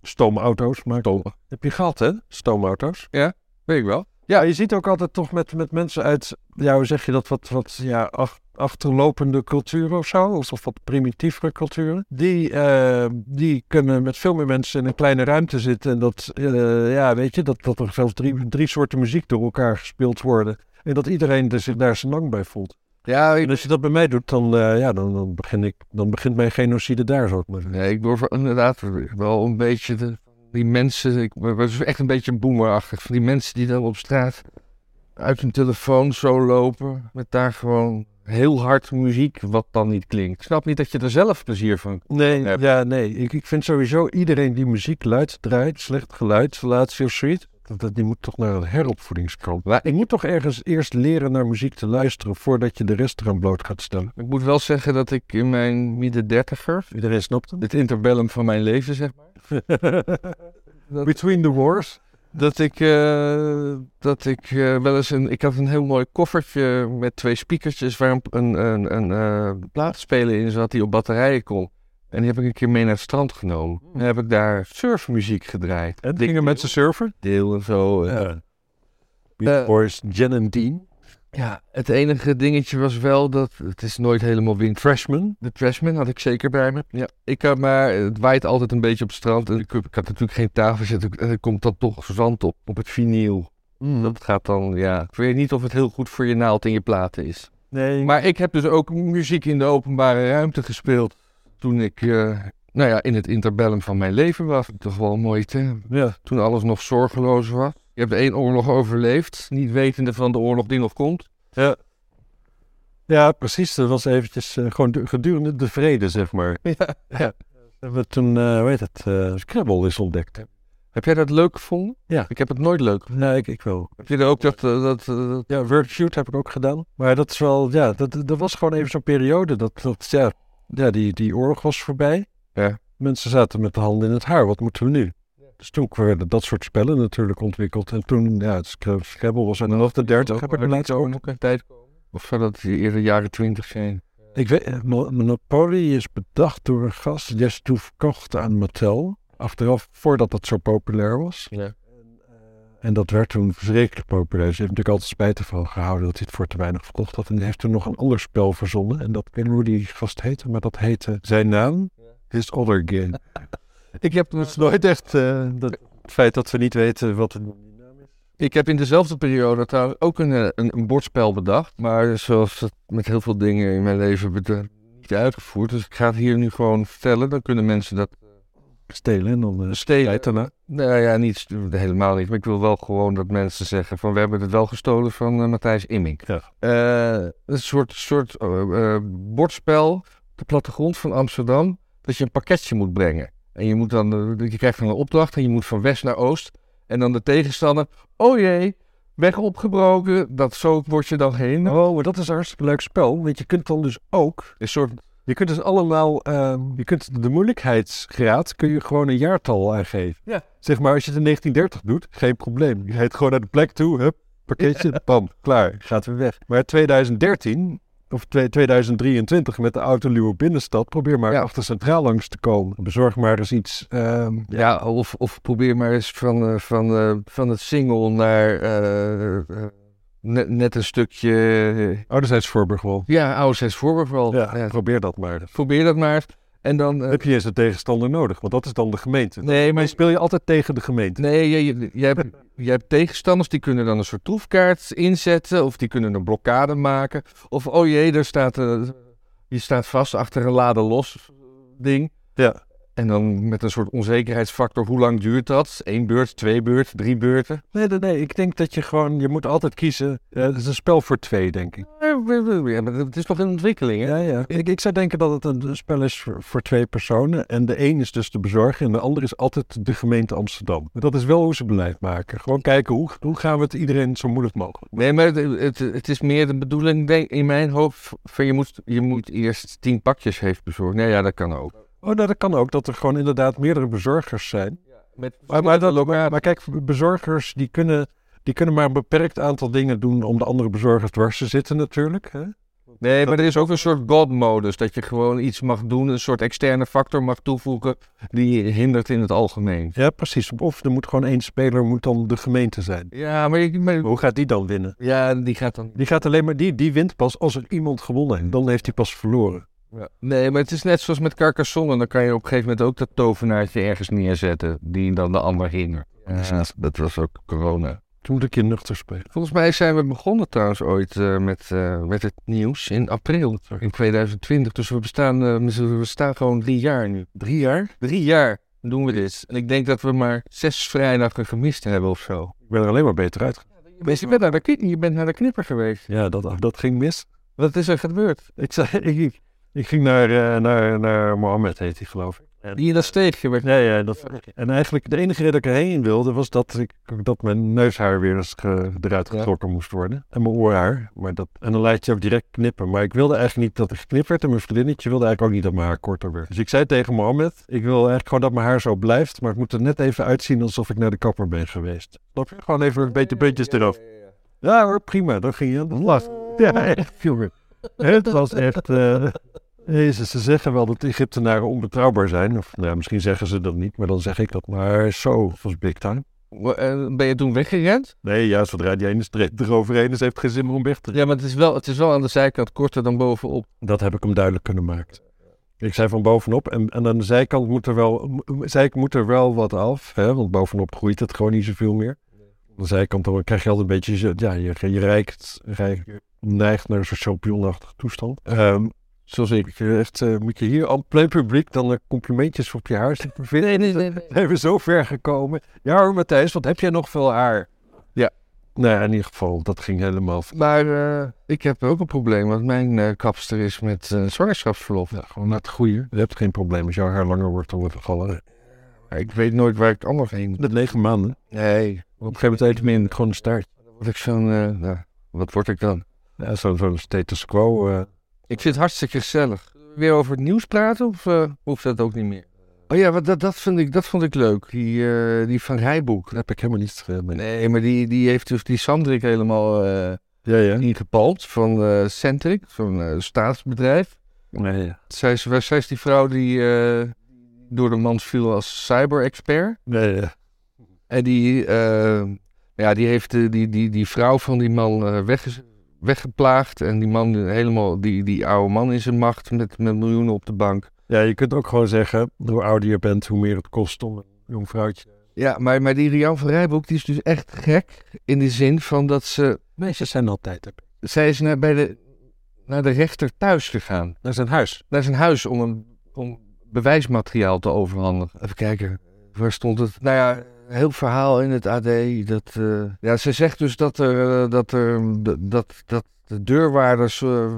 S2: Stoomauto's maken. Heb je gehad, hè? Stoomauto's.
S1: Weet ik wel.
S2: Ja, je ziet ook altijd toch met, met mensen uit, ja, hoe zeg je dat, wat, wat ja, ach- achterlopende culturen of zo, of wat primitievere culturen. Die, eh, die kunnen met veel meer mensen in een kleine ruimte zitten en dat, eh, ja, weet je, dat, dat er zelfs drie, drie soorten muziek door elkaar gespeeld worden. En dat iedereen er zich daar zijn lang bij voelt.
S1: Ja, ik,
S2: En als je dat bij mij doet, dan, eh, ja, dan, dan, begin ik, dan begint mijn genocide daar, zou ik maar zeggen.
S1: nee, ik durf inderdaad wel een beetje de, die mensen. Ik was echt een beetje een boomerachtig. Van die mensen die dan op straat uit hun telefoon zo lopen. Met daar gewoon heel hard muziek wat dan niet klinkt. Ik snap niet dat je er zelf plezier van
S2: Nee,
S1: Nee.
S2: ja, nee. Ik, ik vind sowieso iedereen die muziek luid draait, slecht geluid, relatie of zoiets, dat, dat- die moet toch naar een heropvoedingskamp.
S1: Maar
S2: ik moet toch ergens eerst leren naar muziek te luisteren voordat je de rest eraan bloot gaat stellen.
S1: Ik moet wel zeggen dat ik in mijn midden dertiger.
S2: Iedereen snapt het.
S1: Het interbellum van mijn leven, zeg maar.
S2: Between the wars.
S1: Dat ik, eh, dat ik eh, wel eens een. Ik had een heel mooi koffertje met twee speakertjes waar een, een, een, een eh, plaatspeler in zat die op batterijen kon. En die heb ik een keer mee naar het strand genomen. En heb ik daar surfmuziek gedraaid.
S2: Hmm. En dingen met z'n server.
S1: deel en zo. eh.
S2: Ja. Beach
S1: Eh.
S2: Boys, Jen en Dean.
S1: Ja, het enige dingetje was wel dat. Het is nooit helemaal wind.
S2: Freshman.
S1: De Trashman had ik zeker bij me. Ja. Ik had maar, het waait altijd een beetje op het strand. En ik, ik had natuurlijk geen tafel zitten. En er komt dan toch zand op, op het vinyl. Dat gaat dan, ja. Ik weet niet of het heel goed voor je naald en je platen is.
S2: Nee,
S1: Maar ik heb dus ook muziek in de openbare ruimte gespeeld. Toen ik, eh, nou ja, in het interbellum van mijn leven was. Toch wel een mooie term.
S2: ja.
S1: Toen alles nog zorgeloos was. Je hebt één oorlog overleefd, niet wetende van de oorlog die nog komt.
S2: Ja. Ja, precies. Dat was eventjes eh, gewoon du- gedurende de vrede, zeg maar.
S1: Ja.
S2: Hebben we toen, eh hoe heet het, eh, Scrabble is ontdekt.
S1: Heb jij dat leuk gevonden?
S2: Ja.
S1: Ik heb het nooit leuk.
S2: Nee, ik, ik wel.
S1: Heb je er ook dat... eh, dat, eh, dat-
S2: Ja, Workshoot heb ik ook gedaan. Maar dat is wel, ja, dat, dat was gewoon even zo'n periode. Dat, dat ja, ja die, die oorlog was voorbij.
S1: Ja.
S2: Mensen zaten met de handen in het haar. Wat moeten we nu? Dus toen werden dat soort spellen natuurlijk ontwikkeld. En toen, ja, het Scra- Scrabble was aan de 30. Heb ik me laatst ook.
S1: een tijd komen? Of zou dat eerder jaren twintig zijn?
S2: Ik weet, eh, Mo- Monopoly is bedacht door een gast die is toen verkocht aan Mattel. Achteraf, voordat dat zo populair was.
S1: Ja.
S2: En dat werd toen verschrikkelijk populair. Ze heeft natuurlijk altijd spijt ervan gehouden dat hij het voor te weinig verkocht had. En hij heeft toen nog een ander spel verzonnen. En dat, ik weet niet hoe die gast heette, maar dat heette... Zijn naam? His Other Game. ik heb dus nooit echt... eh, dat, het feit dat we niet weten wat het...
S1: Ik heb in dezelfde periode trouwens ook een, eh, een, een bordspel bedacht. Maar zoals dat met heel veel dingen in mijn leven bed- niet uitgevoerd. Dus ik ga het hier nu gewoon vertellen. Dan kunnen mensen dat
S2: Stelen en dan... eh,
S1: stelen.
S2: Tijd daarna.
S1: Nou ja, niet, st- helemaal niet. Maar ik wil wel gewoon dat mensen zeggen van... we hebben het wel gestolen van eh, Matthijs Immink.
S2: Ja.
S1: Eh, een soort, soort eh, eh, bordspel op de plattegrond van Amsterdam... dat je een pakketje moet brengen. En je, moet dan, eh, je krijgt dan een opdracht en je moet van west naar oost. En dan de tegenstander... oh jee, weg opgebroken. Dat, zo word je dan heen.
S2: Oh, maar dat is een hartstikke leuk spel. Want je kunt dan dus ook
S1: Een soort
S2: Je kunt dus allemaal, ehm, je kunt de moeilijkheidsgraad kun je gewoon een jaartal aangeven.
S1: Ja.
S2: Zeg maar, als je het in 1930 doet, geen probleem. Je heet gewoon naar de plek toe, hup, pakketje, bam, klaar, gaat weer weg. Maar 2013 of twee- 2023 met de autoluwe binnenstad, probeer maar
S1: Ja.
S2: achter Centraal langs te komen. Bezorg maar eens iets. ehm,
S1: Ja, of, of probeer maar eens van, eh, van, eh, van het single naar eh, eh, net, net een stukje. eh,
S2: Ouderzijds Voorburg wel.
S1: ja, oude 6 voorbeeld wel.
S2: Ja,
S1: Ja,
S2: probeer dat maar.
S1: probeer dat maar. En dan. eh,
S2: Heb je eens een tegenstander nodig, want dat is dan de gemeente.
S1: nee, maar.
S2: Speel je altijd tegen de gemeente?
S1: Nee, je, je, je hebt, je hebt tegenstanders die kunnen dan een soort troefkaart inzetten. Of die kunnen een blokkade maken. Of oh jee, daar staat, eh, je staat vast achter een laden los ding.
S2: Ja.
S1: En dan met een soort onzekerheidsfactor, hoe lang duurt dat? Eén beurt, twee beurt, drie beurten.
S2: Nee, nee, nee. Ik denk dat je gewoon, je moet altijd kiezen. Eh, het is een spel voor twee, denk ik.
S1: Ja, maar het is nog in ontwikkeling, hè?
S2: Ja, ja. Ik, ik zou denken dat het een spel is voor, voor twee personen. En de een is dus de bezorger en de ander is altijd de gemeente Amsterdam. Dat is wel hoe ze beleid maken. Gewoon kijken, hoe, hoe gaan we het iedereen zo moeilijk mogelijk?
S1: Nee, maar het, het, het is meer de bedoeling denk, in mijn hoofd van je moet, je moet eerst tien pakjes heeft bezorgd. Nee, ja, dat kan ook.
S2: Oh, nou, dat kan ook, dat er gewoon inderdaad meerdere bezorgers zijn.
S1: Met,
S2: Maar, maar, dat, maar, maar kijk, bezorgers die kunnen, die kunnen maar een beperkt aantal dingen doen om de andere bezorgers dwars te zitten natuurlijk. Hè?
S1: nee, maar er is ook een soort god-modus. Dat je gewoon iets mag doen, een soort externe factor mag toevoegen die je hindert in het algemeen.
S2: Ja, precies. Of er moet gewoon één speler moet dan de gemeente zijn.
S1: Ja, maar, ik, maar-
S2: Maar hoe gaat die dan winnen?
S1: ja, die gaat dan...
S2: Die gaat alleen maar, die, die wint pas als er iemand gewonnen heeft. Dan heeft hij pas verloren.
S1: Ja. Nee, maar het is net zoals met Carcassonne. Dan kan je op een gegeven moment ook dat tovenaartje ergens neerzetten die dan de ander hindert. Ja, dat was ook corona.
S2: Toen moet ik je nuchter spelen.
S1: Volgens mij zijn we begonnen trouwens ooit eh, met, eh, met het nieuws in april in 2020. Dus we bestaan, eh, we bestaan gewoon drie jaar nu. Drie jaar? Drie jaar doen we dit. En ik denk dat we maar zes vrijdagen gemist hebben of zo.
S2: Ik ben er alleen maar beter uit.
S1: Je bent, je bent naar, de, kni- je bent naar de knipper geweest.
S2: Ja, dat, dat ging mis.
S1: Wat is er gebeurd?
S2: Ik, zei, ik, ik, ik ging naar, eh, naar, naar Mohammed, heet hij geloof ik.
S1: Die in dat steegje werd.
S2: Ja, ja, dat, en eigenlijk de enige reden dat ik erheen wilde was dat, ik, dat mijn neushaar weer eens ge- eruit
S1: Ja.
S2: getrokken moest worden. En mijn oorhaar. Maar dat, en dan laat je ook direct knippen. Maar ik wilde eigenlijk niet dat ik geknipt werd. En mijn vriendinnetje wilde eigenlijk ook niet dat mijn haar korter werd. Dus ik zei tegen Mohammed, ik wil eigenlijk gewoon dat mijn haar zo blijft. Maar het moet er net even uitzien alsof ik naar de kapper ben geweest. Snap je? Gewoon even een beetje beetjes eraf. Ja hoor, prima. Dan ging je aan de slag. Ja, echt, jongen. Het was echt... eh, Jezus, ze zeggen wel dat Egyptenaren onbetrouwbaar zijn. Of nou, ja, misschien zeggen ze dat niet, maar dan zeg ik dat maar zo. was big time.
S1: Wa- eh, Ben je toen weggerend?
S2: Nee, ja, zodra die ene streep eroverheen is, heeft het geen zin meer om weg te
S1: Ja, maar het is, wel, het is wel aan de zijkant korter dan bovenop.
S2: Dat heb ik hem duidelijk kunnen maken. Ik zei van bovenop en, en aan de zijkant moet er wel, m- zij moet er wel wat af. Hè, want bovenop groeit het gewoon niet zoveel meer. Aan de zijkant dan krijg je altijd een beetje... zo- Ja, je, je rijkt, rijk- neigt naar een soort champignonachtige toestand. Ehm, zoals ik. Je Echt, eh, moet je hier al plein publiek dan eh, complimentjes op je haar zitten vinden.
S1: Nee, nee, nee. nee.
S2: We zijn zo ver gekomen. Ja hoor, Matthijs, wat heb jij nog veel haar? Nou ja, in ieder geval, dat ging helemaal. v-
S1: Maar eh, ik heb ook een probleem, want mijn eh, kapster is met eh, zwangerschapsverlof.
S2: Ja, gewoon naar het goede. Je hebt geen probleem als jouw haar langer wordt dan wordt het al.
S1: Maar ik weet nooit waar ik anders heen moet.
S2: Met negen maanden. Op
S1: Nee,
S2: een gegeven moment eet je meer gewoon een staart.
S1: word ik zo'n... eh, nou, wat word ik dan?
S2: Ja, zo- Zo'n status quo. eh.
S1: Ik vind het hartstikke gezellig. Weer over het nieuws praten of eh, hoeft dat ook niet meer? Oh ja, wat, dat, dat, vind ik, dat vond ik leuk. Die, eh, die van Rijboek.
S2: Daar heb ik helemaal niets eh, mee.
S1: Nee, maar die, die heeft dus die Sandrik helemaal eh
S2: Ja, ja.
S1: ingepalmd van eh Centric, zo'n eh, staatsbedrijf.
S2: Nee, ja.
S1: Zij is, waar- zij is die vrouw die eh, door de mand viel als cyber-expert.
S2: Nee, ja.
S1: En die, eh, ja, die heeft eh, die, die, die vrouw van die man eh, wegge- weggeplaagd. En die man helemaal, die, die oude man in zijn macht met, met miljoenen op de bank.
S2: ja, je kunt ook gewoon zeggen, hoe ouder je bent, hoe meer het kost om een jong vrouwtje.
S1: Ja, maar, maar die Rian van Rijbroek die is dus echt gek. In de zin van dat ze.
S2: Meisjes zijn altijd hè.
S1: Zij is naar, bij de, naar de rechter thuis gegaan.
S2: naar zijn huis.
S1: Naar zijn huis om, een, om bewijsmateriaal te overhandigen. Even kijken, waar stond het? Nou ja, heel verhaal in het AD. Dat, eh, ja, ze zegt dus dat, er, eh, dat, er, dat, dat, dat de deurwaarders eh,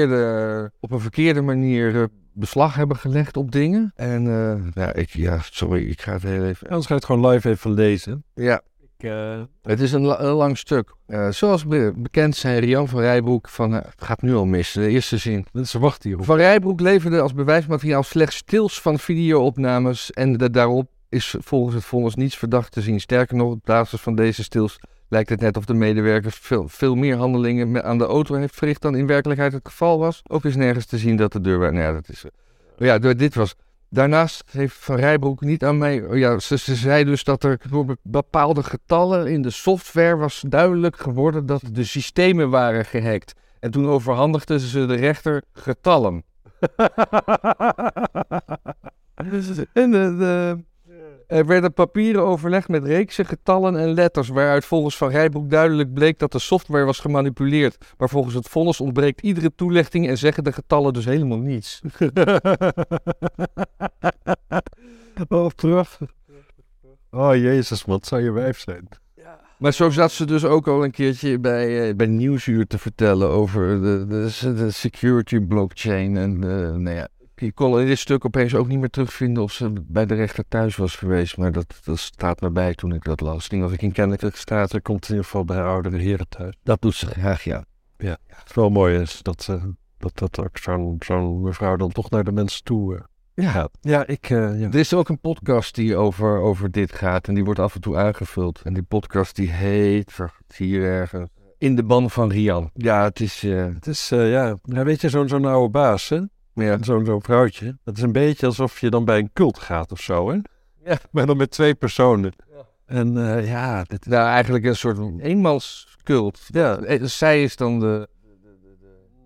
S1: verkeerde, op een verkeerde manier eh, beslag hebben gelegd op dingen. En eh, ja, ik, ja, sorry, ik ga het heel even.
S2: Anders ga je het gewoon live even lezen.
S1: Ja,
S2: Ik, eh,
S1: Het is een, la- een lang stuk. Eh, zoals be- bekend zijn Rian van Rijbroek van... eh, het gaat nu al mis, de eerste zin.
S2: mensen wachten hierop.
S1: Van Rijbroek leverde als bewijsmateriaal slechts stils van videoopnames... en da- daarop is volgens het vonnis niets verdacht te zien. Sterker nog, op basis van deze stils lijkt het net of de medewerker... veel, veel meer handelingen me- aan de auto heeft verricht... dan in werkelijkheid het geval was. Ook is nergens te zien dat de deur... Nou ja, dat is... eh, Ja, d- dit was... Daarnaast heeft Van Rijbroek niet aan mij. oh Ja, ze, ze zei dus dat er door be- bepaalde getallen in de software was duidelijk geworden dat de systemen waren gehackt. En toen overhandigden ze de rechter getallen. En eh, de- er werden papieren overlegd met reeksen getallen en letters, waaruit volgens Van Rijbroek duidelijk bleek dat de software was gemanipuleerd. Maar volgens het vonnis ontbreekt iedere toelichting en zeggen de getallen dus helemaal niets.
S2: oh, prachtig. Oh, jezus, wat zou je wijf zijn.
S1: Maar zo zat ze dus ook al een keertje bij, eh bij Nieuwsuur te vertellen over de, de, de security blockchain. En eh nou ja, je kon in dit stuk opeens ook niet meer terugvinden of ze bij de rechter thuis was geweest. Maar dat, dat staat me bij toen ik dat las. Ik denk dat ik in kennelijk staat.
S2: Ze komt in ieder geval bij oudere heren thuis.
S1: Dat doet ze graag, ja.
S2: Het is wel mooi is dat, ze dat, dat ook zo'n zo'n mevrouw dan toch naar de mensen toe eh,
S1: Ja,
S2: gaat. Ja, ik... eh, ja.
S1: er is ook een podcast die over, over dit gaat en die wordt af en toe aangevuld. En die podcast die heet, vergt hier ergens, In de ban van Rian. Ja, het is, eh,
S2: Het is, eh, ja, nou, weet je, zo'n zo'n oude baas, hè?
S1: ja,
S2: Zo'n zo'n vrouwtje. Dat is een beetje alsof je dan bij een cult gaat of zo, hè?
S1: Ja.
S2: Maar dan met twee personen. En eh, ja, dit,
S1: nou eigenlijk een soort eenmanskult.
S2: ja,
S1: Eh, Zij is dan de,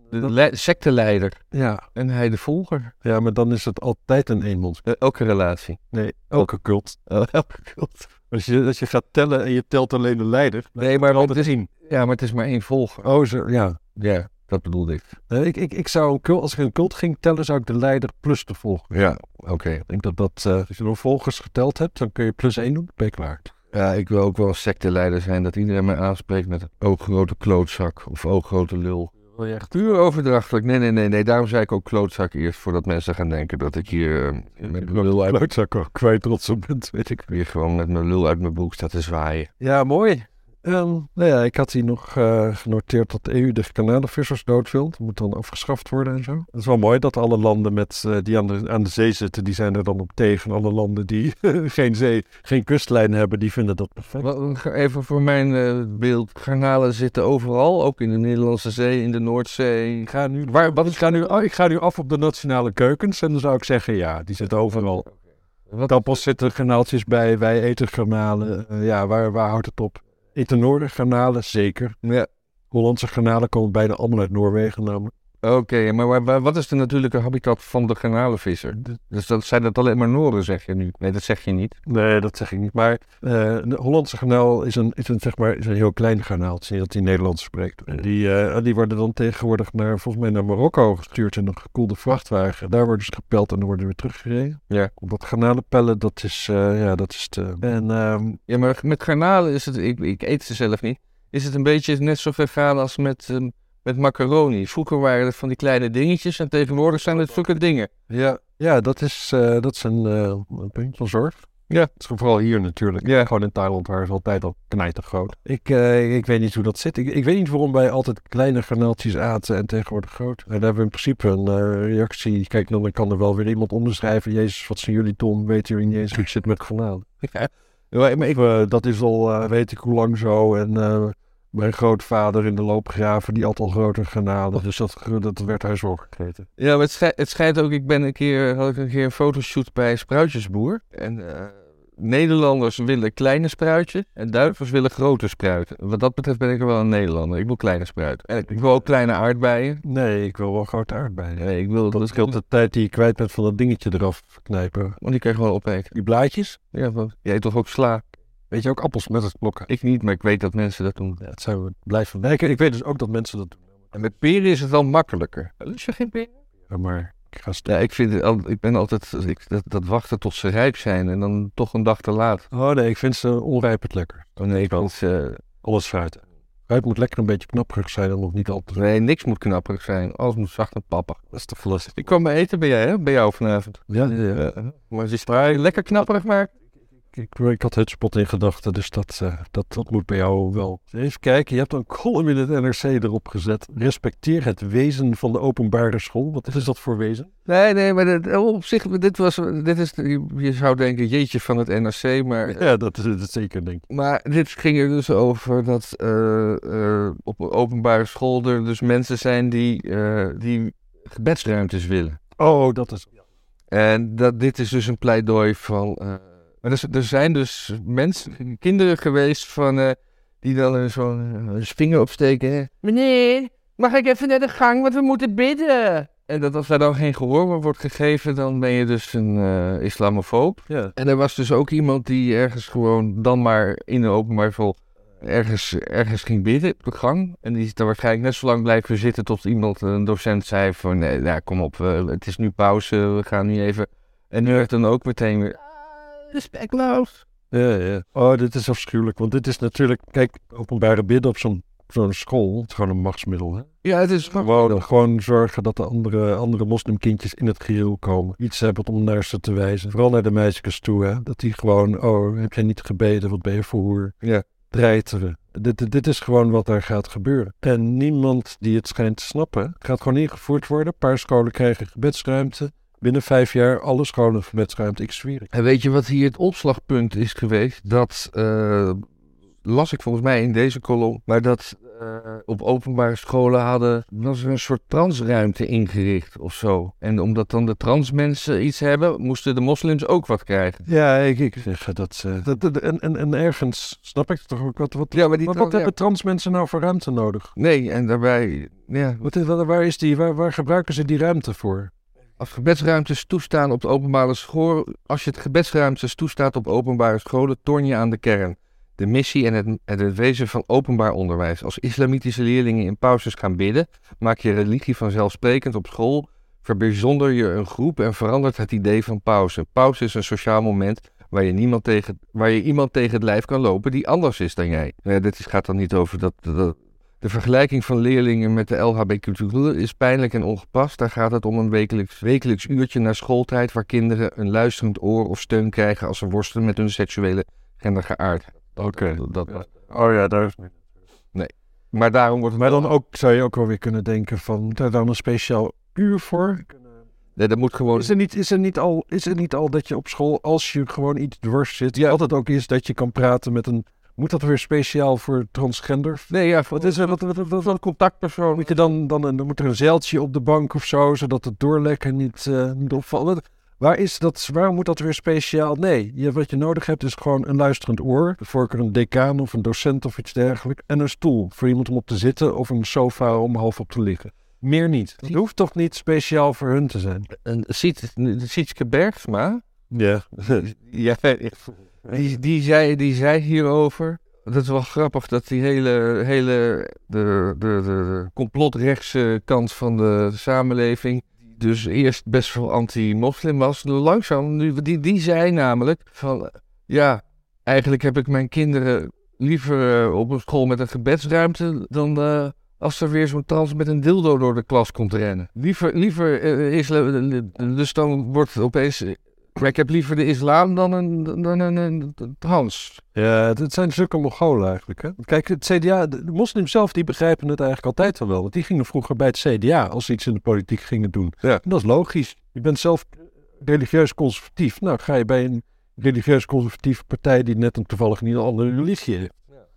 S1: de le- secteleider
S2: ja,
S1: en hij de volger.
S2: ja, maar dan is het altijd een eenmans.
S1: Eh, elke relatie. Oh.
S2: Nee, elke cult.
S1: elke cult.
S2: Als je, als je gaat tellen en je telt alleen de leider.
S1: Nee, maar het is,
S2: zien.
S1: ja, maar het is maar één volger.
S2: Oh, zo, ja.
S1: Ja, dat bedoelde ik.
S2: Eh, ik, ik, ik zou een cult, als ik een cult ging tellen, zou ik de leider plus de volger.
S1: Ja, oké.
S2: Ik denk dat dat, eh, als je nog volgers geteld hebt, dan kun je plus één doen. Ben je klaar.
S1: Ja, ik wil ook wel een secteleider zijn dat iedereen mij aanspreekt met oh grote klootzak of oh grote lul.
S2: Wil je echt?
S1: Puur overdrachtelijk. Nee, nee, nee, nee. Daarom zei ik ook klootzak eerst voordat mensen gaan denken dat ik hier eh, met mijn lul uit,
S2: Klootzak ook kwijt trots op bent, weet ik.
S1: weer gewoon met mijn lul uit mijn broek sta te zwaaien.
S2: Ja, mooi. Ehm, nou ja, ik had hier nog eh, genoteerd dat de EU de kanalenvissers dood wil. Dat moet dan afgeschaft worden en zo. Het is wel mooi dat alle landen met, eh, die aan de, aan de zee zitten, die zijn er dan op tegen. Alle landen die geen zee, geen kustlijn hebben, die vinden dat perfect.
S1: Wel, Even voor mijn eh, beeld. Garnalen zitten overal, ook in de Nederlandse Zee, in de Noordzee.
S2: Ik ga nu,
S1: Waar, wat
S2: ik,
S1: is,
S2: ga nu, oh, ik ga nu af op de nationale keukens en dan zou ik zeggen, ja, die zitten overal.
S1: wat,
S2: Tappels zitten granaaltjes bij, wij eten granalen. Eh, ja, waar, waar houdt het op? Eten Noorden granalen, zeker.
S1: ja,
S2: Hollandse granalen komen bijna allemaal uit Noorwegen namelijk.
S1: Oké, maar waar- waar- wat is de natuurlijke habitat van de garnalenvisser? Dus dat, zijn dat alleen maar Noren, zeg je nu? Nee, dat zeg je niet.
S2: Nee, dat zeg ik niet. Maar eh de Hollandse garnaal is een, is een, zeg maar, is een heel klein garnaal. Het is niet dat die Nederlands spreekt. En Die, eh, die worden dan tegenwoordig naar, volgens mij naar Marokko gestuurd in een gekoelde vrachtwagen. Daar worden ze gepeld en dan worden ze weer teruggereden.
S1: Ja.
S2: Dat garnalenpellen, dat is, eh, ja, dat is te... En ehm,
S1: Ja, maar met garnalen is het... Ik, ik eet ze zelf niet. is het een beetje net zo ver gaan als met, ehm, met macaroni. Vroeger waren het van die kleine dingetjes en tegenwoordig zijn het zulke dingen.
S2: Ja, ja dat, is, eh, dat is een, eh, een punt van zorg.
S1: Ja.
S2: Dat is vooral hier natuurlijk.
S1: Ja.
S2: Gewoon in Thailand waar is altijd al knijtig groot. Ik, eh, ik weet niet hoe dat zit. Ik, ik weet niet waarom wij altijd kleine garnaaltjes aten en tegenwoordig groot. En daar hebben we in principe een eh, reactie. Kijk, dan kan er wel weer iemand onderschrijven. Jezus, wat zijn jullie dom? Weten jullie niet eens hoe ik zit met garnalen?
S1: Ja.
S2: Ja, maar ik, eh, dat is al eh, weet ik hoe lang zo. En eh, mijn grootvader in de loopgraven, die at al groter garnalen. Dus dat, dat werd hij zo gegeten.
S1: Ja, maar het, schij- het schijnt ook, ik ben een keer, had ik een keer een fotoshoot bij Spruitjesboer. En eh, Nederlanders willen kleine spruitjes en Duitsers willen grote spruiten. Wat dat betreft ben ik er wel een Nederlander. Ik wil kleine spruiten. En ik, ik wil ook kleine aardbeien.
S2: Nee, ik wil wel grote aardbeien.
S1: Nee, ik wil
S2: Dat is de tijd die je kwijt bent van dat dingetje eraf knijpen.
S1: Want die kan je gewoon opeten.
S2: Die blaadjes?
S1: Ja, want jij eet toch ook sla?
S2: Weet je ook appels met het blokken?
S1: Ik niet, maar ik weet dat mensen dat doen.
S2: Ja, het zijn we blij van. Nee, ik, ik weet dus ook dat mensen dat doen.
S1: En met peren is het dan makkelijker. Lust je Oh, geen peren?
S2: Ja, Maar ik ga stil.
S1: Ja, ik, vind, het al- ik ben altijd ik, dat, dat wachten tot ze rijp zijn en dan toch een dag te laat.
S2: Oh nee, ik vind ze onrijp het lekker.
S1: Oh nee, ik vind ze-
S2: Alles fruit. Fruit moet lekker een beetje knapperig zijn en nog niet al te...
S1: nee, niks moet knapperig zijn. Alles moet zacht en pappig.
S2: Dat is te verlastig.
S1: Ik kwam bij eten bij jij, hè? Bij jou vanavond.
S2: Ja, ja, ja.
S1: Ja. Maar ze is fraai, lekker knapperig maar.
S2: Ik, ik had Hutspot in gedachten, dus dat, eh, dat, dat moet bij jou wel. Even kijken, je hebt een column in het NRC erop gezet. Respecteer het wezen van de openbare school. Wat is dat voor wezen?
S1: Nee, nee, maar dit- op zich, dit was, dit is, je- je zou denken, jeetje van het NRC, maar
S2: Ja, dat is, dat is zeker denk ik.
S1: Maar dit ging er dus over dat eh, eh, op een openbare school er dus mensen zijn die, eh, die gebedsruimtes willen.
S2: Oh, dat is...
S1: En dat, dit is dus een pleidooi van. eh, maar er, z- er zijn dus mensen, kinderen geweest van, eh, die dan eh, zo'n eh, hun vinger opsteken. hè. Meneer, mag ik even naar de gang, want we moeten bidden. En dat als daar dan geen gehoor voor wordt gegeven, dan ben je dus een eh, islamofoob.
S2: Ja.
S1: En er was dus ook iemand die ergens gewoon dan maar in de openbaar school ergens, ergens ging bidden op de gang. En die is daar waarschijnlijk net zo lang blijven zitten tot iemand, een docent, zei van nee, nou, kom op, eh, het is nu pauze, we gaan nu even. En nu werd dan ook meteen weer, "Ah, respectloos.
S2: Ja, ja. Oh, dit is afschuwelijk. Want dit is natuurlijk... Kijk, openbare bidden op zo'n zo'n school... Het is gewoon een machtsmiddel, hè?
S1: Ja, het is gewoon...
S2: Gewoon, gewoon zorgen dat de andere, andere moslimkindjes in het geheel komen. Iets hebben om naar ze te wijzen. Vooral naar de meisjes toe, hè? Dat die gewoon... Oh, heb jij niet gebeden? Wat ben je voor hoer?
S1: Ja.
S2: Treiteren. Dit, dit- dit is gewoon wat daar gaat gebeuren. En niemand die het schijnt te snappen... gaat gewoon ingevoerd worden. Een paar scholen krijgen gebedsruimte. Binnen vijf jaar alle scholen gebedsruimte. Ik zweer het.
S1: En weet je wat hier het opslagpunt is geweest? Dat eh, las ik volgens mij in deze kolom, maar dat eh, op openbare scholen hadden was er een soort transruimte ingericht of zo. En omdat dan de transmensen iets hebben, moesten de moslims ook wat krijgen.
S2: Ja, ik, ik zeg dat, eh, dat, dat- en, en, en ergens snap ik toch ook wat. wat
S1: Ja, maar die
S2: wat, wat hebben trans mensen nou voor ruimte nodig?
S1: Nee, en daarbij, ja,
S2: Wat, is- wat- waar, is die, waar, waar gebruiken ze die ruimte voor?
S1: als gebedsruimtes toestaan op de openbare school, als je het gebedsruimtes toestaat op openbare scholen, torn je aan de kern. De missie en het, en het wezen van openbaar onderwijs. Als islamitische leerlingen in pauzes gaan bidden, maak je religie vanzelfsprekend op school, verbijzonder je een groep en verandert het idee van pauze. Pauze is een sociaal moment waar je, niemand tegen, waar je iemand tegen het lijf kan lopen die anders is dan jij. Nou ja, dit is- gaat dan niet over dat, dat, de vergelijking van leerlingen met de LHBTQ is pijnlijk en ongepast. Daar gaat het om een wekelijks, wekelijks uurtje na schooltijd waar kinderen een luisterend oor of steun krijgen als ze worstelen met hun seksuele gendergeaardheid.
S2: Oké.
S1: Dat- dat- dat-
S2: Oh ja, daar is
S1: Maar daarom wordt het
S2: Maar dan ook, zou je ook wel weer kunnen denken van, daar dan een speciaal uur voor?
S1: Nee, dat moet gewoon.
S2: Is er, niet, is, er niet al, is er niet al dat je op school, als je gewoon iets dwars zit, altijd ook is dat je kan praten met een... Moet dat weer speciaal voor transgender?
S1: Nee, ja,
S2: Wat is er, wat, wat, wat, wat-
S1: een contactpersoon?
S2: Moet je dan, dan, een- dan moet er een zeiltje op de bank of zo, zodat het doorlekken niet, eh niet opvalt. Wat- Waar is dat, waarom moet dat weer speciaal? Nee, je, wat je nodig hebt is gewoon een luisterend oor. De voorkeur een decaan of een docent of iets dergelijks. En een stoel voor iemand om op te zitten of een sofa om half op te liggen. Meer niet. Het hoeft toch niet speciaal voor hun te zijn?
S1: Een Siet- Sietske Bergsma,
S2: Ja.
S1: Ja, die, die, zei, die zei hierover. Dat is wel grappig dat die hele, hele de, de, de, de complotrechtse kant van de samenleving. die Dus eerst best wel anti-moslim was. Langzaam, nu, die, die zei namelijk van ja, eigenlijk heb ik mijn kinderen liever eh, op een school met een gebedsruimte dan eh, als er weer zo'n trans met een dildo door de klas komt rennen. Liever, liever eh, islam, dus dan wordt opeens... eh, Maar ik heb liever de islam dan een, dan een, een, een trans.
S2: Ja, het het zijn zulke Mongolen eigenlijk. Hè? Kijk, het CDA, de de moslims zelf, die begrijpen het eigenlijk altijd al wel. Want die gingen vroeger bij het CDA als ze iets in de politiek gingen doen.
S1: Ja.
S2: En dat is logisch. Je bent zelf religieus conservatief. Nou, ga je bij een religieus conservatieve partij die net een toevallig niet een andere religie heeft.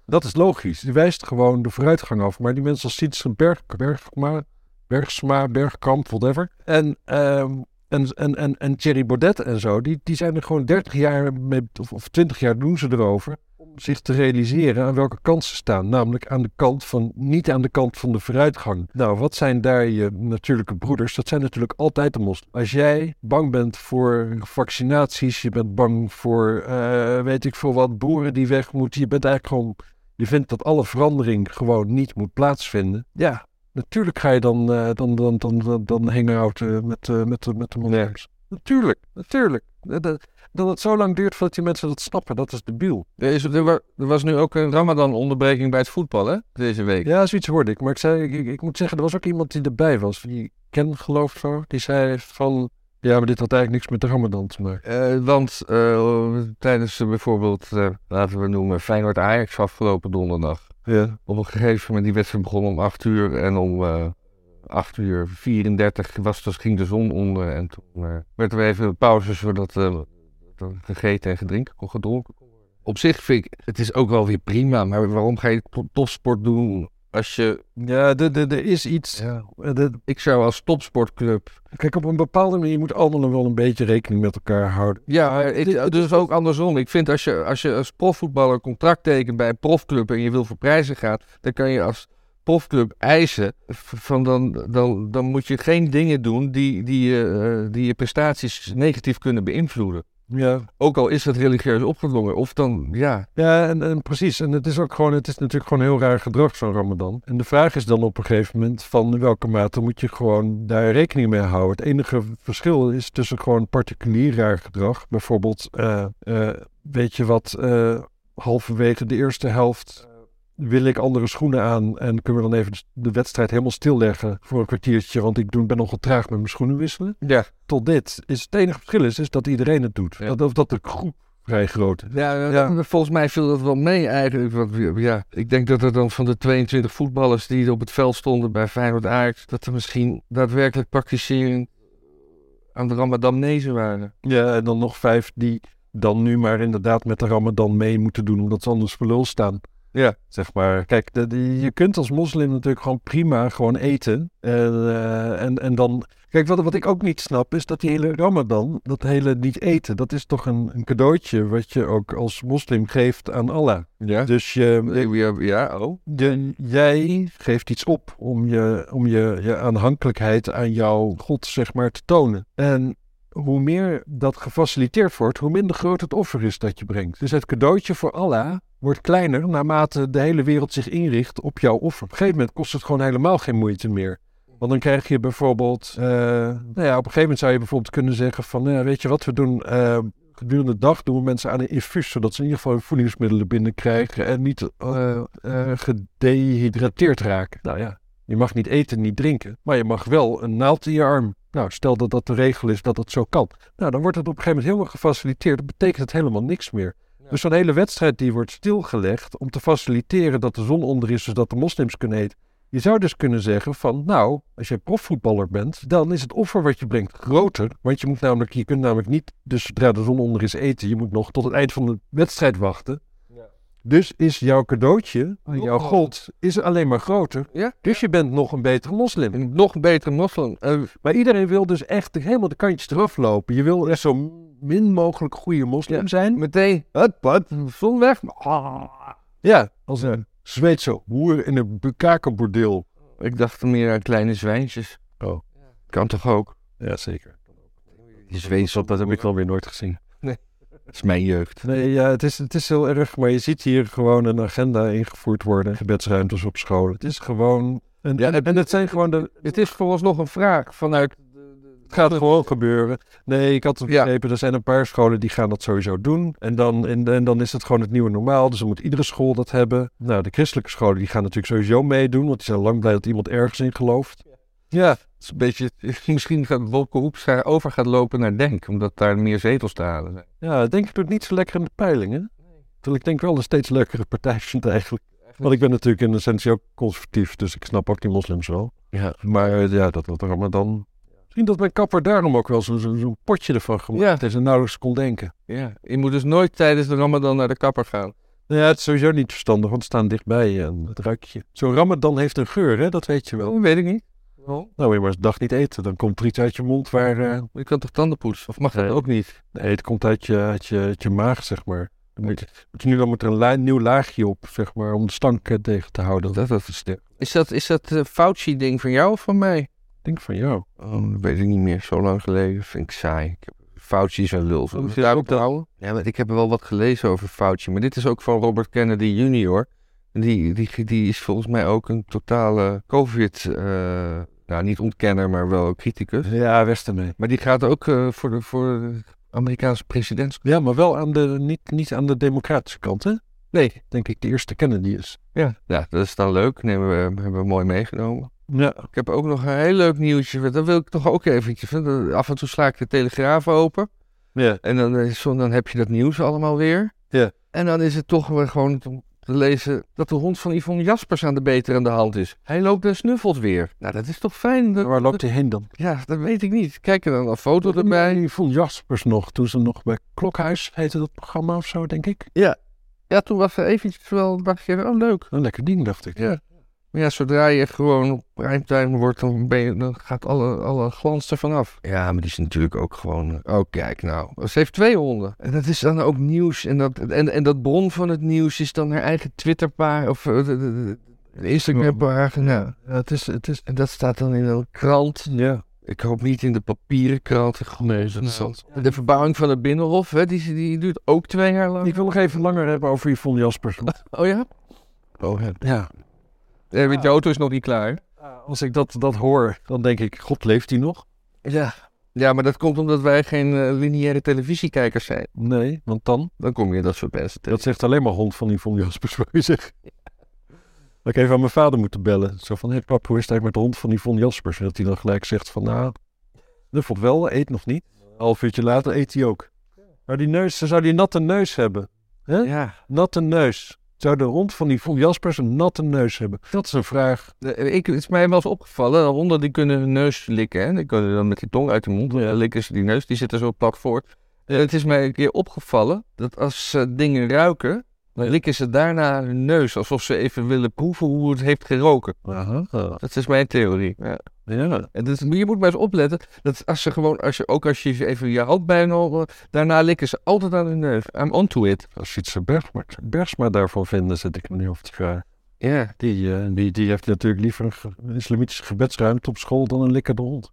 S2: Dat is logisch. Die wijst gewoon de vooruitgang af. Maar die mensen als Sietsen, Berg, Bergma, Bergsma, Bergkamp, whatever. En, ehm, en, en, en, en Thierry Baudet en zo, die, die zijn er gewoon 30 jaar mee, of, of 20 jaar doen ze erover. Om zich te realiseren aan welke kant ze staan. Namelijk aan de kant van, niet aan de kant van de vooruitgang. Nou, wat zijn daar je natuurlijke broeders? Dat zijn natuurlijk altijd de moslims. Als jij bang bent voor vaccinaties, je bent bang voor, eh, weet ik veel wat, boeren die weg moeten. Je bent eigenlijk gewoon je vindt dat alle verandering gewoon niet moet plaatsvinden. Ja, natuurlijk ga je dan, eh dan, dan, dan, dan, dan hangouten met, eh, met, de- met de moslims. Natuurlijk, natuurlijk. Dat, dat- dat het zo lang duurt voordat die mensen dat snappen, dat is debiel.
S1: Er, is, er, wa- er was nu ook een Ramadan-onderbreking bij het voetbal, hè? Deze week.
S2: Ja, zoiets hoorde ik. Maar ik, zei, ik, ik, ik moet zeggen, er was ook iemand die erbij was. Die ken geloof ik zo. Die zei van, ja, maar dit had eigenlijk niks met de ramadan te maken.
S1: Eh, want eh, tijdens eh, bijvoorbeeld, eh, laten we noemen, Feyenoord-Ajax afgelopen donderdag.
S2: Ja.
S1: Op een gegeven moment, die wedstrijd begon om 8 uur en om eh 8 uur 34 was, dus ging de zon onder. En toen eh, werd er even een pauze zodat eh, dat er gegeten en gedrinken kon gedronken. kon worden. Op zich vind ik, het is ook wel weer prima, maar waarom ga je to- topsport doen als je...
S2: Ja, er er- er is iets. eh, er-
S1: Ik zou als topsportclub...
S2: Kijk, op een bepaalde manier je moet allemaal wel een beetje rekening met elkaar houden.
S1: Ja, ik, dus ook andersom. Ik vind als je, als je als profvoetballer een contract tekent bij een profclub en je wil voor prijzen gaan, dan kan je als profclub eisen v- van dan, dan, dan moet je geen dingen doen die, die, je, eh, die je prestaties negatief kunnen beïnvloeden.
S2: Ja,
S1: Ook al is dat religieus opgedrongen. Of dan, ja,
S2: Ja, en, en precies. En het is ook gewoon, het is natuurlijk gewoon heel raar gedrag zo'n Ramadan. En de vraag is dan op een gegeven moment van in welke mate moet je gewoon daar rekening mee houden. Het enige verschil is tussen gewoon particulier raar gedrag. Bijvoorbeeld, eh, eh, weet je wat, eh, halverwege de eerste helft wil ik andere schoenen aan en kunnen we dan even de wedstrijd helemaal stilleggen voor een kwartiertje, want ik doe, ben nogal traag met mijn schoenen wisselen
S1: ja,
S2: tot dit. Is het enige verschil is, is dat iedereen het doet.
S1: Ja.
S2: Dat, of dat de groep vrij groot is.
S1: ja, eh,
S2: Ja.
S1: volgens mij viel dat wel mee eigenlijk. Want, ja, ik denk dat er dan van de 22 voetballers die op het veld stonden bij Feyenoord Ajax, dat er misschien daadwerkelijk praktiserend aan de Ramadamnezen waren.
S2: Ja, en dan nog vijf die dan nu maar inderdaad met de ramadan mee moeten doen, omdat ze anders voor lul staan.
S1: Ja.
S2: Zeg maar, kijk, de- de- je kunt als moslim natuurlijk gewoon prima gewoon eten. En, eh, en, en dan, kijk, wat, wat ik ook niet snap is dat die hele ramadan, dat hele niet eten, dat is toch een, een cadeautje wat je ook als moslim geeft aan Allah.
S1: Ja.
S2: Dus je,
S1: Ja, ja, oh.
S2: de- jij geeft iets op om, je, om je, je aanhankelijkheid aan jouw God, zeg maar, te tonen. En hoe meer dat gefaciliteerd wordt, hoe minder groot het offer is dat je brengt. Dus het cadeautje voor Allah wordt kleiner naarmate de hele wereld zich inricht op jouw offer. Op een gegeven moment kost het gewoon helemaal geen moeite meer. Want dan krijg je bijvoorbeeld, eh, nou ja, op een gegeven moment zou je bijvoorbeeld kunnen zeggen van, nou ja, weet je wat we doen, eh, gedurende de dag doen we mensen aan een infuus, zodat ze in ieder geval hun voedingsmiddelen binnenkrijgen en niet eh, eh, gedehydrateerd raken. Nou ja, je mag niet eten, niet drinken, maar je mag wel een naald in je arm. Nou, stel dat dat de regel is dat dat zo kan. Nou, dan wordt het op een gegeven moment helemaal gefaciliteerd. Dat betekent het helemaal niks meer. Dus zo'n hele wedstrijd die wordt stilgelegd om te faciliteren dat de zon onder is, zodat de moslims kunnen eten. Je zou dus kunnen zeggen van, nou, als je profvoetballer bent, dan is het offer wat je brengt groter. Want je, moet namelijk, je kunt namelijk niet, dus zodra de zon onder is, eten. Je moet nog tot het eind van de wedstrijd wachten. Dus is jouw cadeautje aan
S1: Nog
S2: jouw
S1: groter.
S2: god is alleen maar groter.
S1: Ja.
S2: Dus je bent nog een betere moslim.
S1: Een nog betere moslim. Eh,
S2: Maar iedereen wil dus echt helemaal de kantjes eraf lopen. Je wil echt zo min mogelijk goede moslim
S1: Ja.
S2: zijn.
S1: meteen,
S2: Wat, wat?
S1: zon weg. Ah.
S2: Ja, als een Zweedse hoer in een bekakenbordeel.
S1: Ik dacht meer aan kleine zwijntjes.
S2: Oh.
S1: Kan toch ook?
S2: Ja, zeker.
S1: Die zweensop, dat heb ik
S2: alweer nooit gezien.
S1: Dat is mijn jeugd.
S2: Nee, ja, het, is, het is heel erg, maar je ziet hier gewoon een agenda ingevoerd worden. Gebedsruimtes op scholen. Het is gewoon... En,
S1: Ja,
S2: en, en het zijn gewoon de...
S1: Het is vooralsnog een vraag vanuit de, de-
S2: Het gaat gewoon gebeuren. Nee, ik had het
S1: Ja.
S2: begrepen, er zijn een paar scholen die gaan dat sowieso doen. En dan, en, en dan is het gewoon het nieuwe normaal. Dus dan moet iedere school dat hebben. Nou, de christelijke scholen die gaan natuurlijk sowieso meedoen. Want die zijn lang blij dat iemand ergens in gelooft.
S1: Ja, het is een beetje, misschien gaat Wolke Hoekstra over gaat lopen naar Denk, omdat daar meer zetels te halen zijn.
S2: Ja, denk ik doet niet zo lekker in de peilingen. Terwijl ik denk wel een steeds lekkere partij vind eigenlijk. Want ik ben natuurlijk in essentie ook conservatief. Dus ik snap ook die moslims wel.
S1: Ja.
S2: Maar eh, ja, dat wordt allemaal dan... Misschien dat mijn kapper daarom ook wel zo'n zo, zo'n potje ervan gemaakt
S1: Ja.
S2: heeft en nauwelijks kon denken.
S1: ja, je moet dus nooit tijdens de ramadan naar de kapper gaan.
S2: Nou Ja, het is sowieso niet verstandig, want ze staan dichtbij en het ruikt je. Zo'n ramadan heeft een geur, hè? dat weet je wel.
S1: Oh, weet ik niet.
S2: Nou, weer maar eens een dag niet eten, dan komt er iets uit je mond waar... eh,
S1: Je kan toch tanden poetsen? Of mag dat
S2: Nee.
S1: ook niet?
S2: nee, het komt uit je, uit je, uit je maag, zeg maar. Dan moet, je, moet je nu dan moet er een la- nieuw laagje op, zeg maar, om de stank eh, tegen te houden. Dat is sterk.
S1: Is dat, is dat eh, Fauci-ding van jou of van mij?
S2: Ik denk van jou.
S1: Oh, dat weet ik niet meer. Zo lang geleden vind ik saai. Ik heb... Fauci is een lul.
S2: Oh,
S1: Zullen we
S2: zit
S1: daar
S2: ook
S1: op houden? Ja, maar ik heb wel wat gelezen over Fauci. Maar dit is ook van Robert Kennedy Jr. En Die, die, die is volgens mij ook een totale COVID... eh, nou, niet ontkenner, maar wel criticus.
S2: Ja, weg ermee.
S1: Maar die gaat ook eh, voor, de, voor de Amerikaanse presidents.
S2: Ja, maar wel aan de, niet, niet aan de democratische kant, hè?
S1: Nee.
S2: Denk ik de eerste Kennedy is.
S1: Ja. ja, dat is dan leuk. Nee, we hebben we mooi meegenomen.
S2: Ja.
S1: Ik heb ook nog een heel leuk nieuwtje. Dat wil ik toch ook eventjes. hè. Dat- Af en toe sla ik de Telegraaf open.
S2: Ja.
S1: En dan, is zo- dan heb je dat nieuws allemaal weer.
S2: Ja.
S1: En dan is het toch weer gewoon te te lezen dat de hond van Yvonne Jaspers aan de beter aan de hand is. Hij loopt en snuffelt weer. Nou, dat is toch fijn? Dat-
S2: Waar loopt hij heen dan?
S1: ja, dat weet ik niet. Kijk er dan een foto erbij.
S2: Ik vond Jaspers nog, toen ze nog bij Klokhuis heette dat programma of zo, denk ik.
S1: Ja, toen was er eventjes wel, dacht je, oh leuk.
S2: Een lekker ding, dacht ik.
S1: Ja. Maar ja, zodra je gewoon op primetime wordt, dan, ben je, dan gaat alle, alle glans ervan af. Ja, maar die is natuurlijk ook gewoon... Oh, kijk nou. Ze heeft twee honden. En dat is dan ook nieuws. En dat, en, en dat bron van het nieuws is dan haar eigen Twitterpagina... Of eh, de- de- de- de Instagram-pagina.
S2: Ja, het is, het is,
S1: En dat staat dan in een krant.
S2: ja.
S1: Ik hoop niet in de papieren krant.
S2: Nee, dat
S1: Nou, De verbouwing van het Binnenhof, hè, die, die duurt ook twee jaar lang.
S2: Ik wil nog even langer hebben over Yvonne Jaspers.
S1: Oh ja?
S2: Oh, ja.
S1: Eh, want je auto is nog niet klaar.
S2: Ah, Als ik dat, dat hoor, dan denk ik, god, leeft hij nog?
S1: Ja. Ja, maar dat komt omdat wij geen eh, lineaire televisiekijkers zijn.
S2: Nee, want dan?
S1: Dan kom je dat soort mensen tegen.
S2: Dat zegt alleen maar hond van Yvonne Jaspers, wou je zeggen. Dat ik even aan mijn vader moeten bellen. Zo van, hé pap, hoe is het eigenlijk met de hond van Yvonne Jaspers? En dat hij dan gelijk zegt van, nou, dat vond wel, eet nog niet. Een half uurtje later eet hij ook. Maar die neus, dan zou die natte neus hebben.
S1: Ja.
S2: Natte neus. Zou de hond van Yvonne Jaspers een natte neus hebben? Dat is een vraag.
S1: Eh, Ik, het is mij wel eens opgevallen, dat honden die kunnen hun neus likken. Hè? Die kunnen dan met die tong uit de mond eh, likken ze die neus. Die zitten zo plat voort. En het is mij een keer opgevallen dat als ze dingen ruiken, dan likken ze daarna hun neus. Alsof ze even willen proeven hoe het heeft geroken.
S2: Aha.
S1: Dat is mijn theorie. Ja.
S2: Ja.
S1: En dus, je moet maar eens opletten dat als ze gewoon, als je, ook als je even je hand bij hen hoort, daarna likken ze altijd aan hun neus. I'm onto it.
S2: Als Fietser Bergsma, Bergsma daarvan vinden, zit ik me nu over te vragen.
S1: Ja.
S2: Die, eh, die, die heeft natuurlijk liever een ge- een islamitische gebedsruimte op school dan een lekkere hond.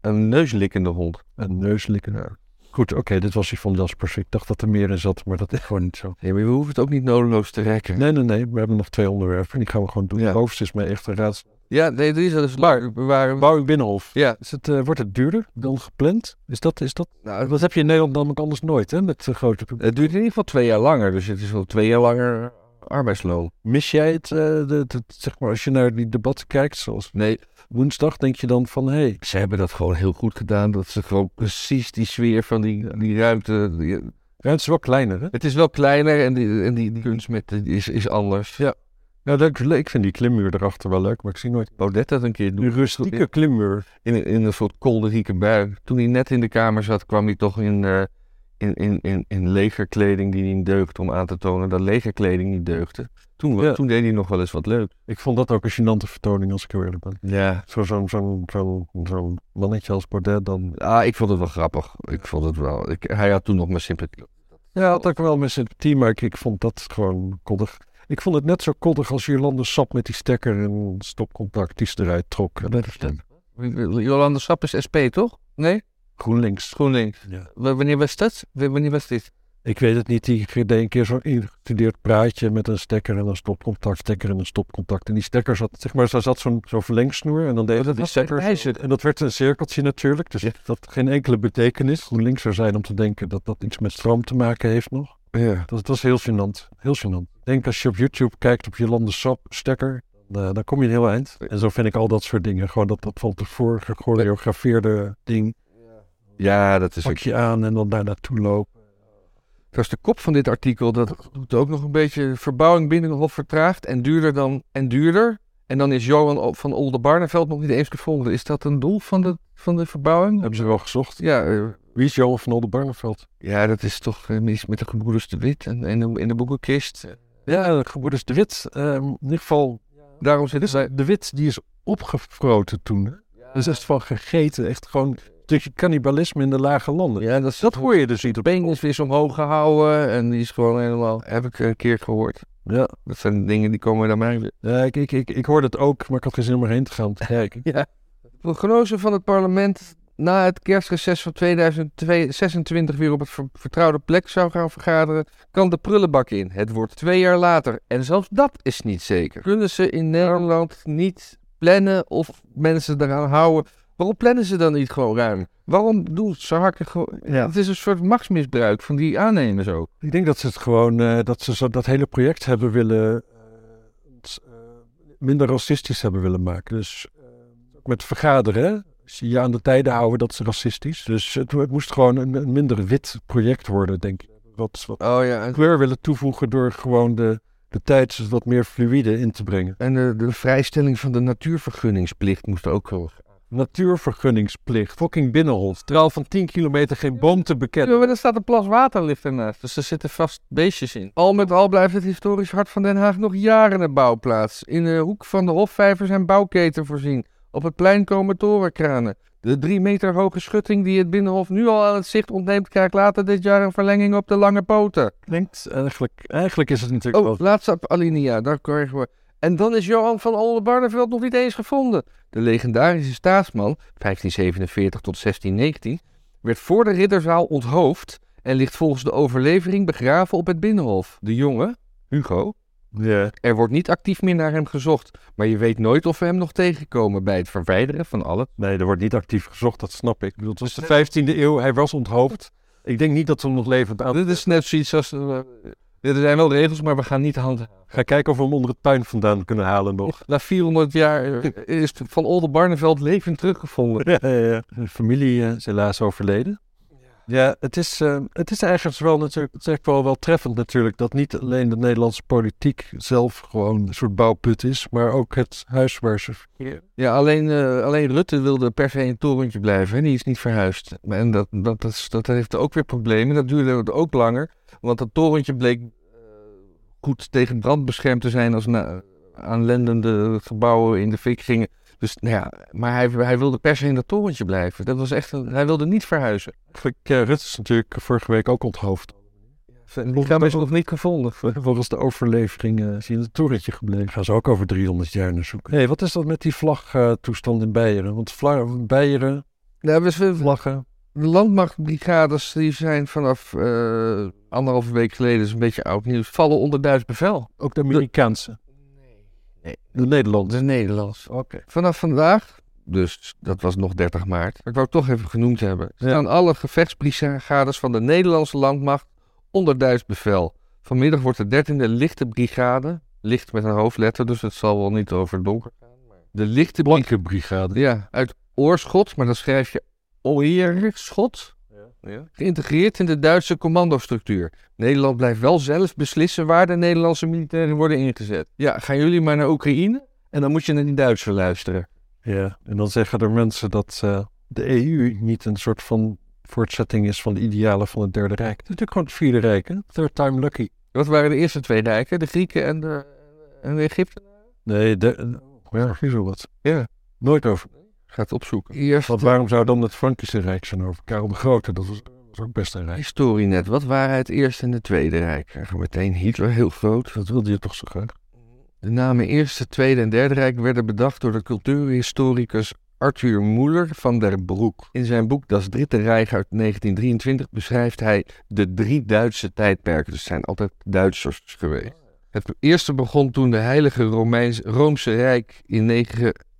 S1: Een neuslikkende hond.
S2: Een neuslikker. Goed, oké, dit was Yvonne Jaspers. Ik dacht dat er meer in zat, maar dat is gewoon niet zo.
S1: Nee, maar we hoeven het ook niet nodeloos te rekken.
S2: Nee, nee, nee. We hebben nog twee onderwerpen. Die gaan we gewoon doen.
S1: Ja.
S2: Het hoofdste is mij echt een raad.
S1: Ja, nee, dat is dat. Dus
S2: Maar-
S1: we waren...
S2: Bouw ik binnenhof.
S1: Ja.
S2: Is het, eh, wordt het duurder dan gepland? Is dat, is dat...
S1: Nou, het,
S2: Dat heb je in Nederland namelijk anders nooit, hè? Met eh, grote publiek.
S1: het duurt in ieder geval twee jaar langer. Dus het is wel twee jaar langer eh, arbeidsloon.
S2: Mis jij het, eh, de- de- zeg maar, als je naar die debatten kijkt, zoals
S1: Nee,
S2: woensdag, denk je dan van, hé, hey,
S1: ze hebben dat gewoon heel goed gedaan. Dat ze gewoon precies die sfeer van die, die ruimte... die-
S2: ruimte is wel kleiner, hè?
S1: het is wel kleiner en die, en die, die kunst met, die is, is anders.
S2: Ja. Nou, dat, ik vind die klimmuur erachter wel leuk, maar ik zie nooit
S1: Baudet dat een keer doen.
S2: een rustieke klimmuur.
S1: in, een- in een soort kolderieke bui. Toen hij net in de kamer zat, kwam hij toch in, eh, in, in, in, in legerkleding die niet deugde. Om aan te tonen dat legerkleding niet deugde. Toen, wa-
S2: Ja.
S1: toen deed hij nog wel eens wat leuk.
S2: Ik vond dat ook een gênante vertoning, als ik heel eerlijk ben.
S1: Ja.
S2: Zo'n zo, zo, zo, zo mannetje als Baudet dan...
S1: Ah, ik vond het wel grappig. Ik vond het wel. Ik, hij had toen nog mijn sympathie.
S2: Ja, had ook wel mijn sympathie, maar ik, ik vond dat gewoon koddig. Ik vond het net zo koddig als Jolande Sap met die stekker en stopcontact die ze eruit trok.
S1: Jolanda Sap is SP, toch? Nee?
S2: GroenLinks.
S1: GroenLinks.
S2: Ja.
S1: W- Wanneer was dat? W- Wanneer was dit?
S2: Ik weet het niet, die deed een keer zo'n ingestudeerd praatje met een stekker en een stopcontact, stekker en een stopcontact. En die stekker zat, zeg maar, daar zat zo'n zo'n verlengsnoer en dan deed
S1: Oh, dat
S2: die
S1: was bij
S2: stekker.
S1: wijze.
S2: En dat werd een cirkeltje natuurlijk, dus
S1: Ja.
S2: dat had geen enkele betekenis. Hoe links zou zijn om te denken dat dat iets met stroom te maken heeft nog.
S1: Ja.
S2: Dat, dat was heel gênant, heel gênant. Ik denk als je op YouTube kijkt op Jolande Sap stekker, dan, eh, dan kom je een heel eind. En zo vind ik al dat soort dingen, gewoon dat, dat van tevoren gechoreografeerde ding.
S1: ja, dat is
S2: Pak
S1: ook.
S2: je aan en dan daar naartoe lopen.
S1: Dat is Oh, de kop van dit artikel. Dat doet ook nog een beetje verbouwing binnenhof vertraagd en duurder dan en duurder. En dan is Johan O- van Oldenbarneveld nog niet eens gevonden. Is dat een doel van de, van de verbouwing?
S2: Hebben ze wel gezocht.
S1: Ja, eh,
S2: Wie is Johan van Oldenbarneveld?
S1: ja, dat is toch eh, mis met de gebroeders de Wit en, en de, in de boekenkist.
S2: Ja, gebroeders De Wit. Ehm, in ieder geval,
S1: Daarom zitten
S2: dus
S1: zij...
S2: De Wit die is opgefroten toen. hè. Dus echt van gegeten, echt gewoon een stukje cannibalisme in de lage landen.
S1: Ja, dat, is,
S2: Dat hoor je dus niet op.
S1: Bengels weer omhoog gehouden en die is gewoon helemaal... Heb ik een keer gehoord.
S2: Ja,
S1: Dat zijn dingen die komen naar mij weer.
S2: ja ik, ik, ik, ik hoorde het ook, maar ik had geen zin om erheen te gaan kijken.
S1: Prognose van het parlement na het kerstreces van 2026 weer op het ver- vertrouwde plek zou gaan vergaderen, kan de prullenbak in. Het wordt twee jaar later en zelfs dat is niet zeker. Kunnen ze in Nederland niet plannen of mensen eraan houden? Waarom plannen ze dan niet gewoon ruim? Waarom doen ze hakken gewoon? Het is een soort machtsmisbruik van die aannemers ook.
S2: Ik denk dat ze het gewoon, eh, dat ze zo- dat hele project hebben willen, eh, het, eh, minder racistisch hebben willen maken. Dus eh, ook met vergaderen, hè, ze je aan de tijden houden, dat is racistisch. Dus het, het moest gewoon een, een minder wit project worden, denk ik. Wat, wat
S1: Oh ja,
S2: kleur willen toevoegen door gewoon de, de tijd wat meer fluïde in te brengen.
S1: en de, de vrijstelling van de natuurvergunningsplicht moest ook wel.
S2: Natuurvergunningsplicht, fucking binnenhof, traal van 10 kilometer geen boom te bekennen.
S1: maar er staat een plas water ligt ernaast, dus er zitten vast beestjes in. Al met al blijft het historisch hart van Den Haag nog jaren een bouwplaats. In de hoek van de Hofvijver zijn bouwketen voorzien. Op het plein komen torenkranen. De drie meter hoge schutting die het Binnenhof nu al aan het zicht ontneemt, krijgt later dit jaar een verlenging op de lange poten.
S2: Klinkt eigenlijk, eigenlijk is het natuurlijk wel
S1: Oh, laatste alinea, daar krijgen we. En dan is Johan van Oldenbarneveld nog niet eens gevonden. De legendarische staatsman, 1547 tot 1619, werd voor de ridderzaal onthoofd en ligt volgens de overlevering begraven op het binnenhof. De jongen, Hugo,
S2: Ja.
S1: er wordt niet actief meer naar hem gezocht, maar je weet nooit of we hem nog tegenkomen bij het verwijderen van alle.
S2: Nee, er wordt niet actief gezocht, dat snap ik. Ik bedoel, het was de 15e eeuw, hij was onthoofd. Ik denk niet dat ze hem nog levend aan...
S1: Dit is net zoiets als. eh, er zijn wel regels, maar we gaan niet handen.
S2: Ga kijken of we hem onder het puin vandaan kunnen halen nog.
S1: Na 400 jaar eh, is van Oldenbarneveld levend teruggevonden.
S2: Ja, ja, ja. De familie eh, is helaas overleden. Ja, het is, eh, het is ergens wel natuurlijk, het is echt wel, wel treffend natuurlijk, dat niet alleen de Nederlandse politiek zelf gewoon een soort bouwput is, maar ook het huis waar ze...
S1: Ja, alleen, eh, alleen Rutte wilde per se in het torentje blijven en die is niet verhuisd. En dat, dat, dat, is- dat heeft ook weer problemen. Dat duurde het ook langer, want dat torentje bleek eh, goed tegen brand beschermd te zijn als na, aanlendende gebouwen in de fik gingen. Dus, nou ja, maar hij, hij wilde per se in dat torentje blijven. Dat was echt een- hij wilde niet verhuizen.
S2: Eigenlijk, eh, Rutte is natuurlijk vorige week ook onthoofd.
S1: En die kamer is nog niet gevonden.
S2: Volgens de overlevering eh, is hij in het torentje gebleven. Gaan ze ook over 300 jaar naar zoeken. Hé, wat is dat met die vlagtoestand in Beieren? Want vla- Beieren,
S1: Nou, we- we-
S2: vlaggen.
S1: De landmachtbrigades die zijn vanaf eh, anderhalve week geleden, dat is een beetje oud nieuws, vallen onder Duits bevel.
S2: Ook de Amerikaanse.
S1: Nee.
S2: De Nederlandse.
S1: De Nederlands.
S2: Oké.
S1: Vanaf vandaag, dus dat was nog 30 maart, maar ik wou het toch even genoemd hebben,
S2: Ja.
S1: staan alle gevechtsbrigades van de Nederlandse landmacht onder Duits bevel. Vanmiddag wordt de 13e lichte brigade, licht met een hoofdletter, dus het zal wel niet over het donker gaan. maar- De lichte brigade.
S2: Blanke brigade.
S1: Ja, uit Oorschot, maar dan schrijf je Oerschot. Geïntegreerd in de Duitse commandostructuur. Nederland blijft wel zelf beslissen waar de Nederlandse militairen worden ingezet. Ja, gaan jullie maar naar Oekraïne en dan moet je naar die Duitsers luisteren.
S2: Ja. En dan zeggen er mensen dat eh, de EU niet een soort van voortzetting is van de idealen van het Derde Rijk. Het is natuurlijk gewoon het Vierde Rijk, hè? Third time lucky.
S1: Wat waren de eerste twee dijken? De Grieken en de, en de Egypte?
S2: Nee, de, eh, ja, precies wel wat.
S1: Ja.
S2: Nooit over.
S1: Ga het opzoeken. Eerst
S2: Want waarom zou dan het Frankische Rijk zijn over Karel de Grote? Dat was, was ook best een rijk.
S1: historie net. Wat waren het Eerste en de Tweede Rijk? Krijgen we meteen Hitler, heel groot.
S2: Dat wilde je toch zo graag?
S1: De namen Eerste, Tweede en Derde Rijk werden bedacht door de cultuurhistoricus Arthur Moeller van der Broek. In zijn boek Das Dritte Reich uit 1923 beschrijft hij de drie Duitse tijdperken. Dus het zijn altijd Duitsers geweest. Het eerste begon toen de Heilige Romeins, Roomse Rijk in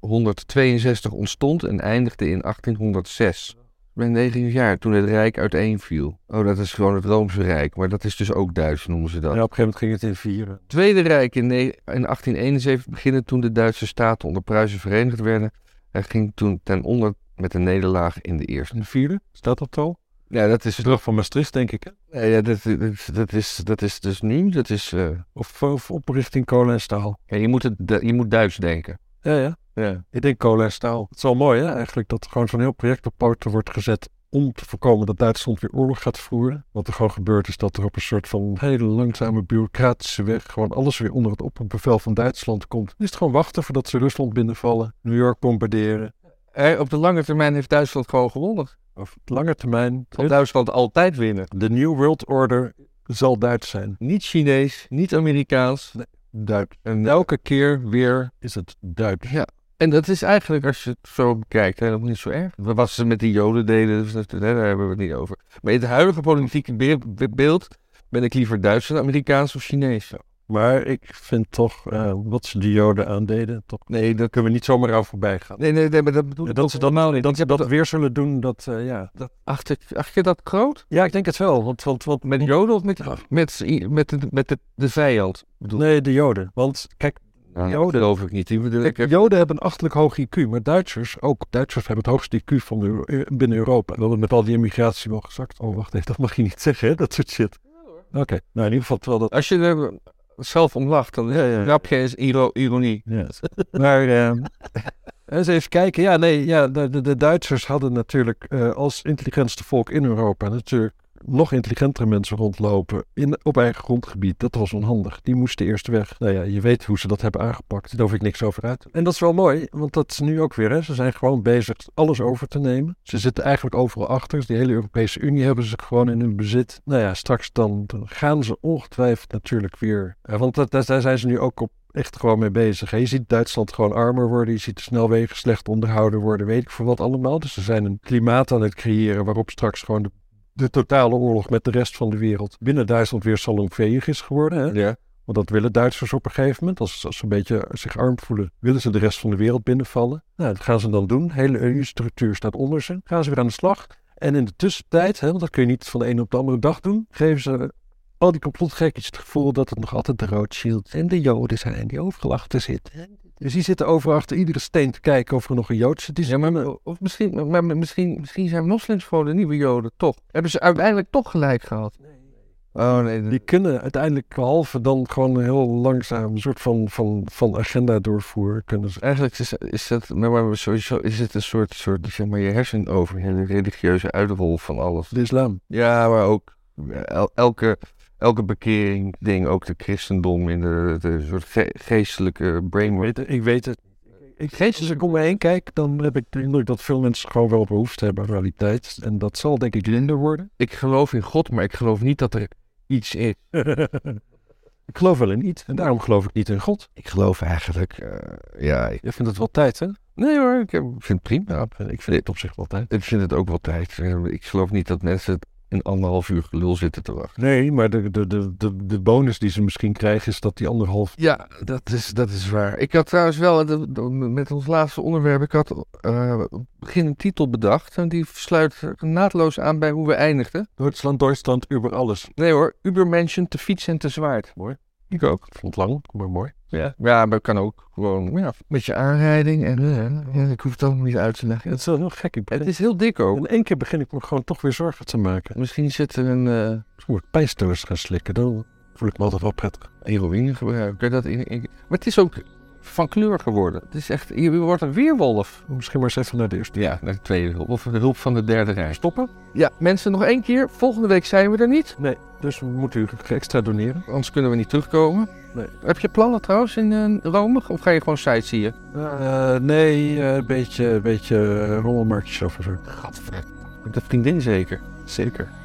S1: 962 ontstond en eindigde in 1806. Ik ben 9 jaar toen het Rijk uiteenviel. Oh, dat is gewoon het Roomse Rijk, maar dat is dus ook Duits, noemen ze dat.
S2: Ja, op een gegeven moment ging het in eh, vieren.
S1: Tweede Rijk in, ne- in 1871 beginnen toen de Duitse staten onder Pruisen verenigd werden. Hij ging toen ten onder met een nederlaag in de eerste.
S2: In vierde? Staat dat al?
S1: Ja, dat is,
S2: De brug van Maastricht, denk ik. hè?
S1: nee, ja, dat, dat, dat is, dat is dus nu. Dat is, eh,
S2: Of, of op richting kolen en staal.
S1: ja, je, moet het, Du- je moet Duits denken.
S2: Ja, ja.
S1: Ja.
S2: Ik denk kolen en staal. Het is wel mooi, hè, eigenlijk, dat er gewoon zo'n heel project op poten wordt gezet om te voorkomen dat Duitsland weer oorlog gaat voeren. Wat er gewoon gebeurt is dat er op een soort van hele langzame bureaucratische weg gewoon alles weer onder het opperbevel van Duitsland komt. Dan is het gewoon wachten voordat ze Rusland binnenvallen, New York bombarderen.
S1: Eh, op de lange termijn heeft Duitsland gewoon gewonnen.
S2: Of op lange termijn,
S1: Zal Duitsland altijd winnen.
S2: de New World Order zal Duits zijn.
S1: Niet Chinees, niet Amerikaans.
S2: Duits.
S1: En
S2: Elke keer weer is het Duits.
S1: Ja. En dat is eigenlijk, als je het zo bekijkt, helemaal niet zo erg. Wat ze met die Joden deden, dus dat- hè, daar hebben we het niet over. Maar in het huidige politieke be- be- beeld ben ik liever Duits dan Amerikaans of Chinees.
S2: Maar ik vind toch eh, wat ze de Joden aandeden, toch
S1: Nee, dat,
S2: kunnen we niet zomaar aan voorbij gaan.
S1: nee, nee, nee, maar dat bedoel
S2: Ja,
S1: ik
S2: dat nou
S1: ook
S2: ze dat,
S1: helemaal niet.
S2: dat,
S1: Ik heb
S2: dat
S1: dat-
S2: weer zullen doen, dat, eh, ja, dat...
S1: acht, ik- acht je dat groot?
S2: Ja, ik denk het wel. Want, want, want
S1: Met Joden of met, met, met, de, met de, de vijand? bedoel-
S2: Nee, de Joden. Want kijk,
S1: Nou, Dat
S2: Joden.
S1: geloof ik niet. Die bedoel ik,
S2: kijk, Joden hebben een achterlijk hoog IQ, maar Duitsers ook. Duitsers hebben het hoogste IQ van Euro- eh, binnen Europa. En dat het met al die immigratie wel gezakt. Oh, wacht even, dat mag je niet zeggen, hè? dat soort shit. Oké, nou in ieder geval terwijl dat...
S1: als je er zelf om lacht, dan
S2: Ja, ja.
S1: grapje is iro- ironie.
S2: Maar ehm, eens even kijken. Ja, nee, ja, de, de, de Duitsers hadden natuurlijk eh, als intelligentste volk in Europa natuurlijk nog intelligentere mensen rondlopen in, op eigen grondgebied. Dat was onhandig. Die moesten eerst weg. Nou ja, je weet hoe ze dat hebben aangepakt. Daar hoef ik niks over uit. En dat is wel mooi, want dat is nu ook weer. Hè. Ze zijn gewoon bezig alles over te nemen. Ze zitten eigenlijk overal achter. Dus die hele Europese Unie hebben ze gewoon in hun bezit. Nou ja, straks dan, dan gaan ze ongetwijfeld natuurlijk weer. eh, want dat, daar daar zijn ze nu ook op echt gewoon mee bezig. hè. Je ziet Duitsland gewoon armer worden. Je ziet de snelwegen slecht onderhouden worden. Weet ik voor wat allemaal. Dus ze zijn een klimaat aan het creëren waarop straks gewoon de, de totale oorlog met de rest van de wereld binnen Duitsland weer salonveeg is geworden. Hè?
S1: Ja.
S2: Want dat willen Duitsers op een gegeven moment. Als, als ze een beetje zich arm voelen, willen ze de rest van de wereld binnenvallen. Nou, dat gaan ze dan doen. De hele EU-structuur staat onder ze. Gaan ze weer aan de slag. En in de tussentijd, hè, want dat kun je niet van de ene op de andere dag doen, geven ze al die complotgekkies het gevoel dat het nog altijd de Rothschilds en de Joden zijn die overal achter zitten. Dus die zitten overal achter iedere steen te kijken of er nog een Jood zit. Dus Die
S1: Ja, maar, of misschien, maar misschien, misschien zijn moslims gewoon de nieuwe joden, toch? Hebben ze uiteindelijk toch gelijk gehad? Oh nee, dat-
S2: Die kunnen uiteindelijk, behalve dan gewoon een heel langzaam soort van, van, van agenda doorvoeren, kunnen ze.
S1: eigenlijk is, is dat, maar, maar sowieso is het een soort, soort zeg maar, je hersen over, een religieuze uitrol van alles.
S2: De islam.
S1: Ja, maar ook eh, el- elke, elke bekering, ding, ook de christendom in de, de soort ge- geestelijke
S2: Ik
S1: brainwave.
S2: weet, het- ik weet het. Ik,
S1: Geestelijk-
S2: als ik om me heen kijk, dan heb ik de indruk dat veel mensen gewoon wel behoefte hebben aan realiteit. En dat zal denk ik minder worden.
S1: Ik geloof in God, maar ik geloof niet dat er iets is.
S2: ik geloof wel in iets. En daarom geloof ik niet in God.
S1: Ik geloof eigenlijk, eh, ja. ik-
S2: Je vindt het wel tijd, hè?
S1: nee hoor, ik heb- vind het prima.
S2: Ik vind het op zich wel tijd.
S1: Ik vind het ook wel tijd. Eh, Ik geloof niet dat mensen een anderhalf uur gelul zitten te wachten.
S2: Nee, maar de, de, de, de, de bonus die ze misschien krijgen is dat die anderhalf...
S1: Ja, dat is, dat is waar. Ik had trouwens wel, eh, de- de- met ons laatste onderwerp, ik had eh, op het begin een titel bedacht. En die sluit naadloos aan bij hoe we eindigden.
S2: Duitsland, Duitsland, over alles.
S1: Nee hoor, Ubermenschen te fiets en te zwaard.
S2: Mooi.
S1: Ik ook.
S2: Vond lang, maar mooi.
S1: Ja, ja maar kan ook gewoon ja, met je aanrijding. En, eh, ja, ik hoef het allemaal niet uit te leggen.
S2: Het
S1: Het,
S2: is wel heel gek. Ik begin...
S1: het is heel dik ook.
S2: In één keer begin ik me gewoon toch weer zorgen te maken.
S1: Misschien zit er een eh,
S2: Toen moet ik pijnstillers gaan slikken. Dan voel ik me altijd wel prettig.
S1: heroïne gebruiken. Dat in, in- maar het is ook van kleur geworden. Het is echt, je wordt een weerwolf.
S2: Oh, Misschien maar eens even naar de eerste.
S1: Ja, naar de tweede hulp. Of de hulp van de derde rij.
S2: Stoppen.
S1: Ja, mensen, nog één keer. Volgende week zijn we er niet.
S2: Nee, dus we moeten u extra doneren.
S1: Anders kunnen we niet terugkomen.
S2: Nee.
S1: Heb je plannen trouwens in eh, Rome? Of ga je gewoon sightseeën?
S2: nee, eh, een beetje, een beetje eh, rommelmarktjes af en zo.
S1: Gadver. Met de vriendin zeker.
S2: Zeker.